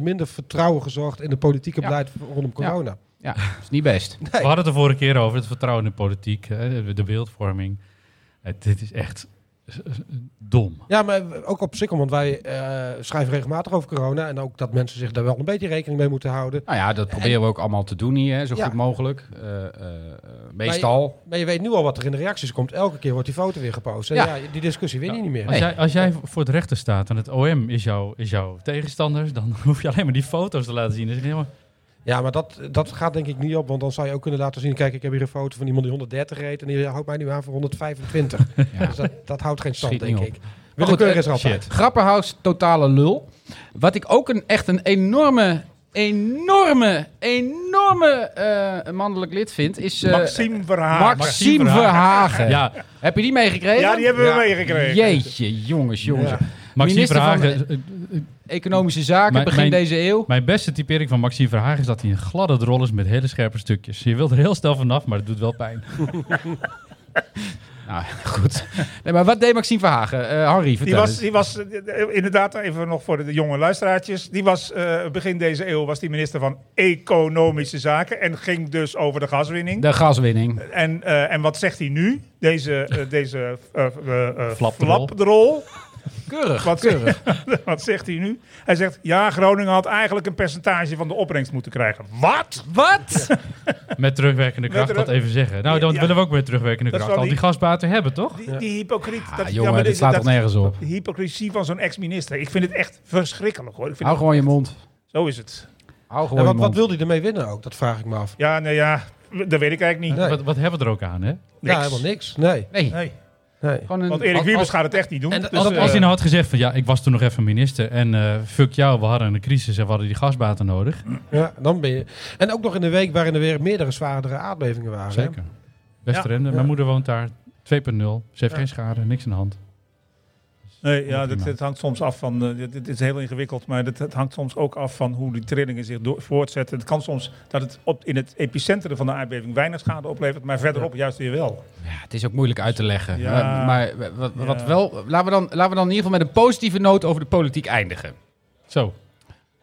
E: minder vertrouwen gezorgd in de politieke
A: Ja.
E: beleid rondom corona.
A: ja, dat is niet best.
D: We hadden het de vorige keer over het vertrouwen in de politiek, hè, de- de beeldvorming. Het, dit is echt eh, dom.
E: Ja, maar ook op Sikkel, want wij eh, schrijven regelmatig over corona. En ook dat mensen zich daar wel een beetje rekening mee moeten houden.
A: Nou ja, dat proberen we ook allemaal te doen hier, hè, zo
E: Ja.
A: goed mogelijk. Eh, eh, eh, meestal.
E: Maar je weet nu al wat er in de reacties komt. Elke keer wordt die foto weer gepost. En
A: Ja.
E: ja. die discussie win je niet meer.
D: Als, jij, als jij voor het rechter staat en het OM is, jouw is jouw tegenstander, dan <laughs> hoef je alleen maar die foto's te laten zien. Dan zeg je, ja, maar
E: Ja, maar dat, dat gaat denk ik niet op. Want dan zou je ook kunnen laten zien... kijk, ik heb hier een foto van iemand die 130 reed... en die houdt mij nu aan voor 125.
A: <laughs>
E: Dus dat, dat houdt geen stand,
A: Schiet
E: denk
A: niet op. eh,
E: ik. Willekeur is er altijd.
A: Grapperhaus, totale lul. Wat ik ook een, echt een enorme, enorme, enorme eh, mannelijk lid vind, is eh,
G: Maxime Verhaar.
A: Maxime
D: Verhagen.
A: Verhagen.
D: ja,
A: Heb je die meegekregen?
G: Ja, die hebben we
E: Ja.
G: meegekregen.
A: Jeetje, jongens, jongens.
E: Ja.
D: Maxime
A: Minister van-
D: Verhagen. eh, eh,
A: Economische zaken,
D: Mijn-
A: begin
D: mijn-
A: deze eeuw.
D: Mijn beste typering van Maxime Verhagen is dat hij een gladde drol is met hele scherpe stukjes. Je wilt er heel snel vanaf, maar het doet wel pijn.
A: Nou, goed. Nee, maar wat deed Maxime Verhagen? Eh Harry, vertel
G: Die was,
A: eens.
G: die was eh, eh, inderdaad, even nog voor de jonge luisteraartjes. Die was eh, begin deze eeuw was die minister van Economische Zaken. En ging dus over de gaswinning.
A: De gaswinning.
G: En, eh, en wat zegt hij nu? Deze, eh, deze eh, eh, eh,
D: Flapdrol.
G: flapdrol.
A: Keurig,
G: Wat-
A: keurig.
G: <laughs> Wat zegt hij nu? Hij zegt, ja, Groningen had eigenlijk een percentage van de opbrengst moeten krijgen. Wat?
A: Wat?
D: Met terugwerkende
G: Met
D: kracht,
G: terug-
D: dat even zeggen. Nou, dan
G: Ja.
D: willen we ook met terugwerkende
G: Dat is
D: kracht al
G: wel
D: die gasbaten hebben, toch?
G: Die, die hypocriet.
A: Ah,
G: dat- ja,
A: jongen,
G: maar
A: dit slaat
G: dat-
A: toch nergens op.
G: De hypocrisie van zo'n ex-minister. Ik vind het echt verschrikkelijk hoor. Ik vind
A: Hou
G: het-
A: gewoon je mond.
G: Zo is het.
A: Hou gewoon je
E: En wat,
A: mond.
E: wat wil hij ermee winnen ook? Dat vraag ik me af.
G: Ja, nou ja, dat weet ik eigenlijk niet.
E: Nee.
D: Wat, wat hebben we er ook aan, hè?
E: Ja,
G: Niks.
E: helemaal niks. Nee.
A: Nee,
G: Nee.
E: nee.
A: gewoon een...
G: Want Erik
A: als-
G: Wiebes
A: als-
G: gaat het echt niet doen.
E: En dat-
G: Dus,
E: dat-
G: eh,
D: Als hij nou had gezegd van ja, ik was toen nog even minister en eh, fuck jou, we hadden een crisis en we hadden die gasbaten nodig.
E: Ja, dan ben je... En ook nog in de week waarin er weer meerdere zwaardere aardbevingen waren. hè?
D: Zeker. Westerende, mijn moeder woont daar, 2.0. Ze heeft geen schade, niks aan de hand.
G: nee, ja, dat,
D: prima.
G: het hangt soms af van. eh, dit, dit is heel ingewikkeld, maar dat, het hangt soms ook af van hoe die trillingen zich door, voortzetten. Het kan soms dat het op, in het epicentrum van de aardbeving weinig schade oplevert, maar verderop juist weer wel.
A: Ja, het is ook moeilijk uit te leggen.
G: Ja.
A: Maar, maar wat, wat
G: Ja.
A: wel, laten we, dan, laten we dan in ieder geval met een positieve noot over de politiek eindigen.
D: Zo,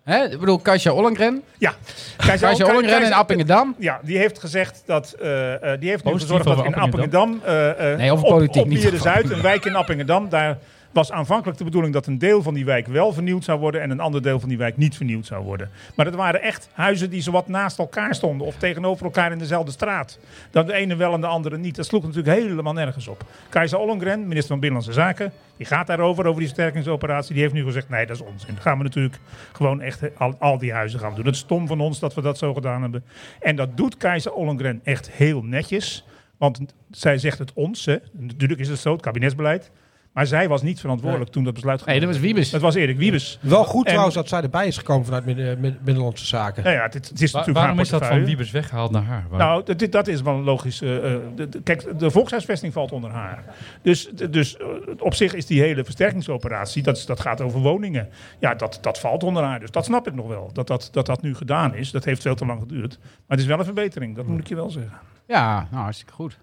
A: Hè? Ik bedoel, Kasia Ollengren.
G: Ja, Kijk,
A: Kasia Ollengren in Appingedam.
G: Ja, die heeft gezegd dat. eh, eh, die heeft nu
D: Positief
G: gezorgd dat
D: over
G: in Appingedam. eh, eh,
A: Nee, over
G: op-
A: politiek
G: op
A: niet.
G: Wierde Zuid, een wijk in Appingedam. Daar was aanvankelijk de bedoeling dat een deel van die wijk wel vernieuwd zou worden en een ander deel van die wijk niet vernieuwd zou worden. Maar dat waren echt huizen die zowat naast elkaar stonden of tegenover elkaar in dezelfde straat. Dan de ene wel en de andere niet. Dat sloeg natuurlijk helemaal nergens op. Keizer Ollongren, minister van Binnenlandse Zaken, die gaat daarover, over die versterkingsoperatie. Die heeft nu gezegd, nee, dat is onzin. Dat gaan we natuurlijk gewoon echt al, al die huizen gaan doen. Het is stom van ons dat we dat zo gedaan hebben. En dat doet Keizer Ollongren echt heel netjes. Want zij zegt het ons, hè. natuurlijk is het zo, het kabinetsbeleid. Maar zij was niet verantwoordelijk toen dat besluit
A: Nee,
G: genomen
A: dat was Wiebes.
G: werd. Het was Erik Wiebes.
E: Wel goed
G: En-
E: trouwens dat zij erbij is gekomen vanuit Midden- Midden- Binnenlandse Zaken.
G: Nou ja, het, het is
D: Wa-
G: natuurlijk
D: waarom
G: haar
D: is dat van
G: portefeuille.
D: Wiebes weggehaald naar haar? Waarom-
G: Nou, dat- dit, dat is wel een logisch. eh, eh, de- de- kijk, de volkshuisvesting valt onder haar. Dus, de- dus eh, op zich is die hele versterkingsoperatie, dat, is- dat gaat over woningen. Ja, dat, dat valt onder haar. Dus dat snap ik nog wel. Dat dat, dat dat nu gedaan is, dat heeft veel te lang geduurd. Maar het is wel een verbetering, dat moet ik je wel zeggen.
A: Ja, nou, hartstikke goed.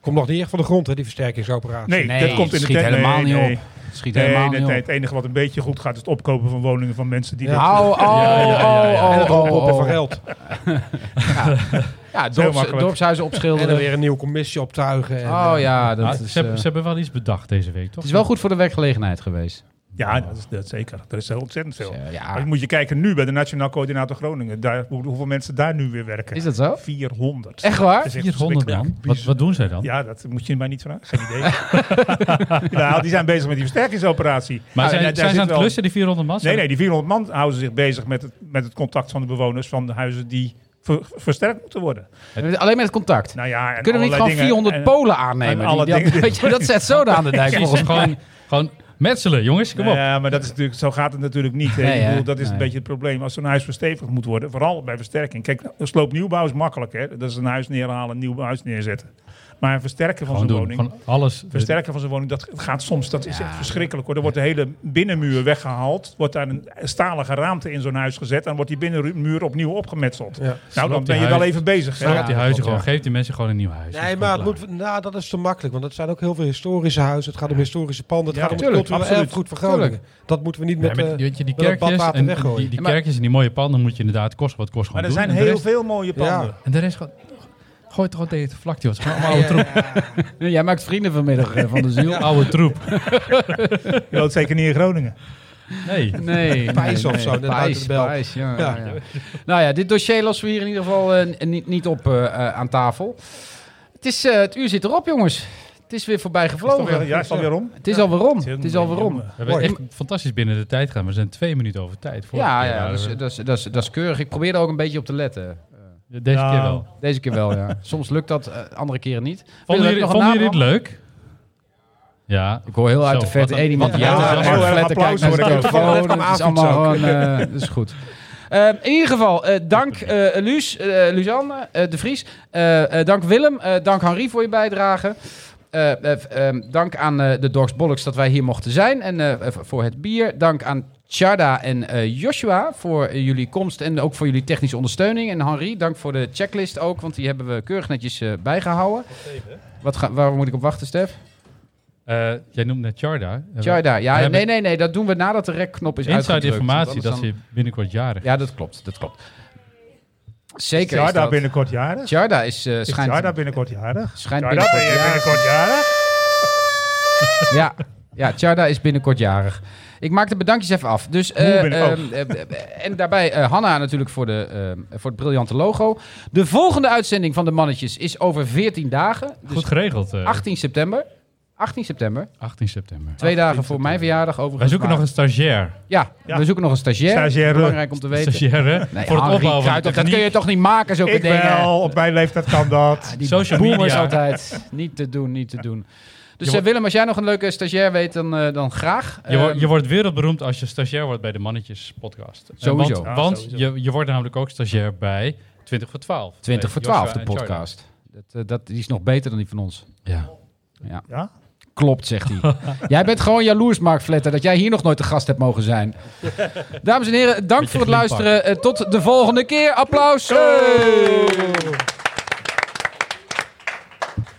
E: Komt nog niet echt van de grond, hè, die versterkingsoperatie.
G: Nee,
A: Nee,
G: dat komt in de
A: schiet
G: tijd-
A: helemaal
G: nee,
A: niet
G: nee.
A: op. Het Schiet
G: Nee,
A: helemaal
G: nee,
A: niet
G: nee,
A: op.
G: het enige wat een beetje goed gaat, is het opkopen van woningen van mensen die.
E: Ja.
G: dat-
A: Au, au,
G: Oh,
E: En
A: au,
E: het
A: au,
E: roepen op en
A: au.
E: vergeld.
A: oh, Ja,
G: heel
A: dorps,
G: makkelijk.
A: dorpshuizen
E: En dan
A: opschilderen.
E: weer een nieuwe commissie optuigen. En,
A: Oh
E: eh,
A: ja, dat
D: Ah,
A: is,
D: ze, hebben-
A: eh,
D: ze hebben wel iets bedacht deze week, toch?
A: het is wel goed voor de werkgelegenheid geweest.
G: Ja, dat is, dat is zeker. Er is heel ontzettend
A: Dus,
G: veel.
A: eh,
G: Maar
A: ja.
G: je moet je kijken nu bij de Nationaal Coördinator Groningen. Daar, hoe- hoeveel mensen daar nu weer werken?
A: Is dat zo?
G: 400.
A: Echt waar?
G: Dat is echt
D: 400
G: verschrikkelijk.
D: man. Wat, wat doen zij dan?
G: Ja, dat moet je mij niet vragen. Geen idee. <laughs> nou, die zijn bezig met die versterkingsoperatie.
D: Maar
G: En
D: zijn,
G: daar- daar
D: zijn
G: zit
D: ze aan het
G: wel-
D: klussen, die 400 man?
G: Nee, nee, die 400 man houden zich bezig met het, met het contact van de bewoners van de huizen die ver- versterkt moeten worden.
A: Alleen met het contact.
G: Nou ja, en
A: Kunnen we niet
G: allerlei
A: gewoon
G: dingen-
A: 400
G: en-
A: Polen aannemen?
G: en alle
A: die- die-
G: dingen-
A: <laughs> weet je, dat zet zoden aan de dijk
D: Precies,
A: volgens mij.
D: gewoon, gewoon metselen, jongens. Kom op.
G: Ja, maar dat is natuurlijk, zo gaat het natuurlijk niet. hè.
A: Nee,
G: ik bedoel,
A: hè?
G: dat is
A: Nee.
G: een beetje het probleem. Als zo'n huis verstevigd moet worden, vooral bij versterking. Kijk, een sloopnieuwbouw is makkelijk. Hè? Dat is een huis neerhalen, een nieuw huis neerzetten. Maar versterken van
D: Gewoon
G: zo'n
D: doen.
G: woning...
D: Gewoon alles.
G: Versterken van zijn woning, dat gaat soms, dat is echt verschrikkelijk hoor. Er wordt de hele binnenmuur weggehaald, wordt daar een stalige raamte in zo'n huis gezet en wordt die binnenmuur opnieuw opgemetseld.
E: Ja.
G: Nou, dan
D: Sloopt
G: ben
D: die
G: je wel
D: huis-
G: even bezig. hè?
D: Versterk die huizen
E: Ja,
D: gewoon.
E: ja.
D: Geef die mensen gewoon een nieuw huis. Dat
E: Nee,
D: is
E: maar het
D: gewoon
E: moet, nou, dat is te makkelijk. Want het zijn ook heel veel historische huizen. Het gaat om historische panden. Het
G: Ja,
E: gaat om
G: tuurlijk,
E: het cultureel
G: absoluut.
E: erfgoed van Groningen. Dat moeten we niet met...
D: klaar. Nee,
E: eh,
D: maar weet je, die
E: met het
D: kerkjes
E: badwater
D: en
E: weggooien.
D: die, die
A: Ja, maar-
D: kerkjes en die mooie panden moet je inderdaad kosten wat kost gewoon
G: Maar er
D: doen.
G: zijn
D: En de
G: heel
D: rest-
G: veel mooie panden.
D: En de rest gewoon... Gooi toch gewoon tegen het vlak, joh. Het is gewoon allemaal oude troep.
A: Jij maakt vrienden vanmiddag eh, van de ziel.
D: <laughs> Oude troep.
G: Je woont zeker niet in Groningen.
D: Nee.
A: Nee,
E: Pijs
A: nee,
E: of zo,
A: nee.
E: net buiten
A: Pijs,
E: de bel.
A: Pijs, ja,
E: Ja.
A: ja. Nou ja, dit dossier lossen we hier in ieder geval eh, n- niet, niet op eh, eh, aan tafel. Het, is, eh, het uur zit erop, jongens. Het is weer voorbij
G: Is het alweer-
A: gevlogen.
G: Ja, is het alweer om?
A: Het is alweer om.
G: is
A: Het is alweer om.
G: jammer.
D: We hebben
E: Mooi.
D: echt fantastisch binnen de tijd gaan. We zijn twee minuten over tijd. Vorige
A: Ja, dus
D: keer
A: ja
D: waren
A: dat, is,
D: we-
A: dat, is, dat, is, dat is keurig. Ik probeer er ook een beetje op te letten.
D: Deze
G: Nou,
D: keer wel.
A: Deze keer wel, ja. Soms lukt dat, eh, andere keren niet. Willen we
D: Vonden jullie,
A: nog een
D: vonden
A: naam,
D: jullie
A: man?
D: het leuk? Ja.
A: Ik hoor heel uit
D: Zo,
A: de verte
D: wat een-
A: één iemand
D: wat
A: die
D: een-
A: ja,
D: ja,
A: ja,
G: heel erg
A: fletten kijkt
G: applaus
A: naar zijn
G: hoor.
A: telefoon.
E: Dat
A: Dat is
E: is
A: allemaal
E: ook.
A: gewoon, eh, dat is goed. Eh, in ieder geval, eh, dank eh Luus, eh, Luzanne eh, de Vries. Eh, eh, dank Willem, eh, dank Henri voor je bijdrage. Eh, eh, f- ehm, dank aan eh, de Dorks Bollocks dat wij hier mochten zijn en eh, v- voor het bier. Dank aan Tjarda en eh, Joshua voor eh, jullie komst en ook voor jullie technische ondersteuning. En Henri, dank voor de checklist ook, want die hebben we keurig netjes eh, bijgehouden. Wat ga, waar moet ik op wachten, Stef?
D: Eh, jij noemt net Charda.
A: Tjarda, ja,
D: We hebben-
A: nee, nee, nee, dat doen we nadat de rekknop is
D: Inside
A: uitgedrukt.
D: informatie
A: want
D: dat
A: anders
D: ze binnenkort jarig
A: dan- Ja, dat klopt, dat klopt. Zeker
G: Ja,
A: is
G: daar
A: dat.
G: binnenkort jarig.
A: Tjarda is, eh,
G: Is
A: schijnt,
G: Jarda binnenkort jarig?
A: schijnt
G: Jarda,
A: binnenkort
G: ben je
A: jarig.
G: binnenkort jarig?
A: Ja, ja Tjarda is binnenkort jarig. Ik maak de bedankjes even af. Dus, eh,
G: Hoe oh. ben-
A: ehm, eh, eh, en daarbij eh, Hanna natuurlijk voor, de, ehm, voor het briljante logo. De volgende uitzending van de mannetjes is over 14 dagen. Dus
D: Goed geregeld. eh,
A: 18 september. 18 september.
D: 18 september.
A: Twee dagen voor mijn verjaardag overigens.
D: Wij zoeken
A: maar-
D: nog een stagiair.
A: Ja,
G: Ja.
A: we zoeken nog een stagiair.
G: Stagiaire.
A: Belangrijk om te weten.
D: Stagiair, hè?
A: Nee,
D: voor het
A: Henri
D: opbouwen van de
A: Kruidhoff, dat kun je
D: techniek.
A: toch niet maken, zulke
G: Ik
A: dingen?
G: wel, op mijn leeftijd kan dat.
A: Die
D: Social
A: boomers
D: media.
A: altijd. Niet te doen, niet te doen. Dus
D: Je
A: eh,
D: wordt-
A: Willem, als jij nog een leuke stagiair weet, dan, eh, dan graag.
D: Je, wordt-
A: Ehm,
D: je wordt wereldberoemd als je stagiair wordt bij de Mannetjes podcast. Eh,
A: Sowieso.
D: Want,
A: Ja,
D: want
G: sowieso.
D: Je, je wordt namelijk ook stagiair bij 20 voor 12.
A: 20 voor
D: Bij Joshua
A: 12, de
D: en Charlie.
A: podcast. Dat, eh, dat, die is nog beter dan die van ons.
D: Ja.
G: Ja?
A: Klopt, zegt hij.
D: <laughs>
A: jij bent gewoon jaloers, Mark Vletter, dat jij hier nog nooit de gast hebt mogen
D: <laughs>
A: zijn. Dames en heren, dank voor het
D: glimppak.
A: luisteren. Eh, tot de volgende keer. Applaus. Hey!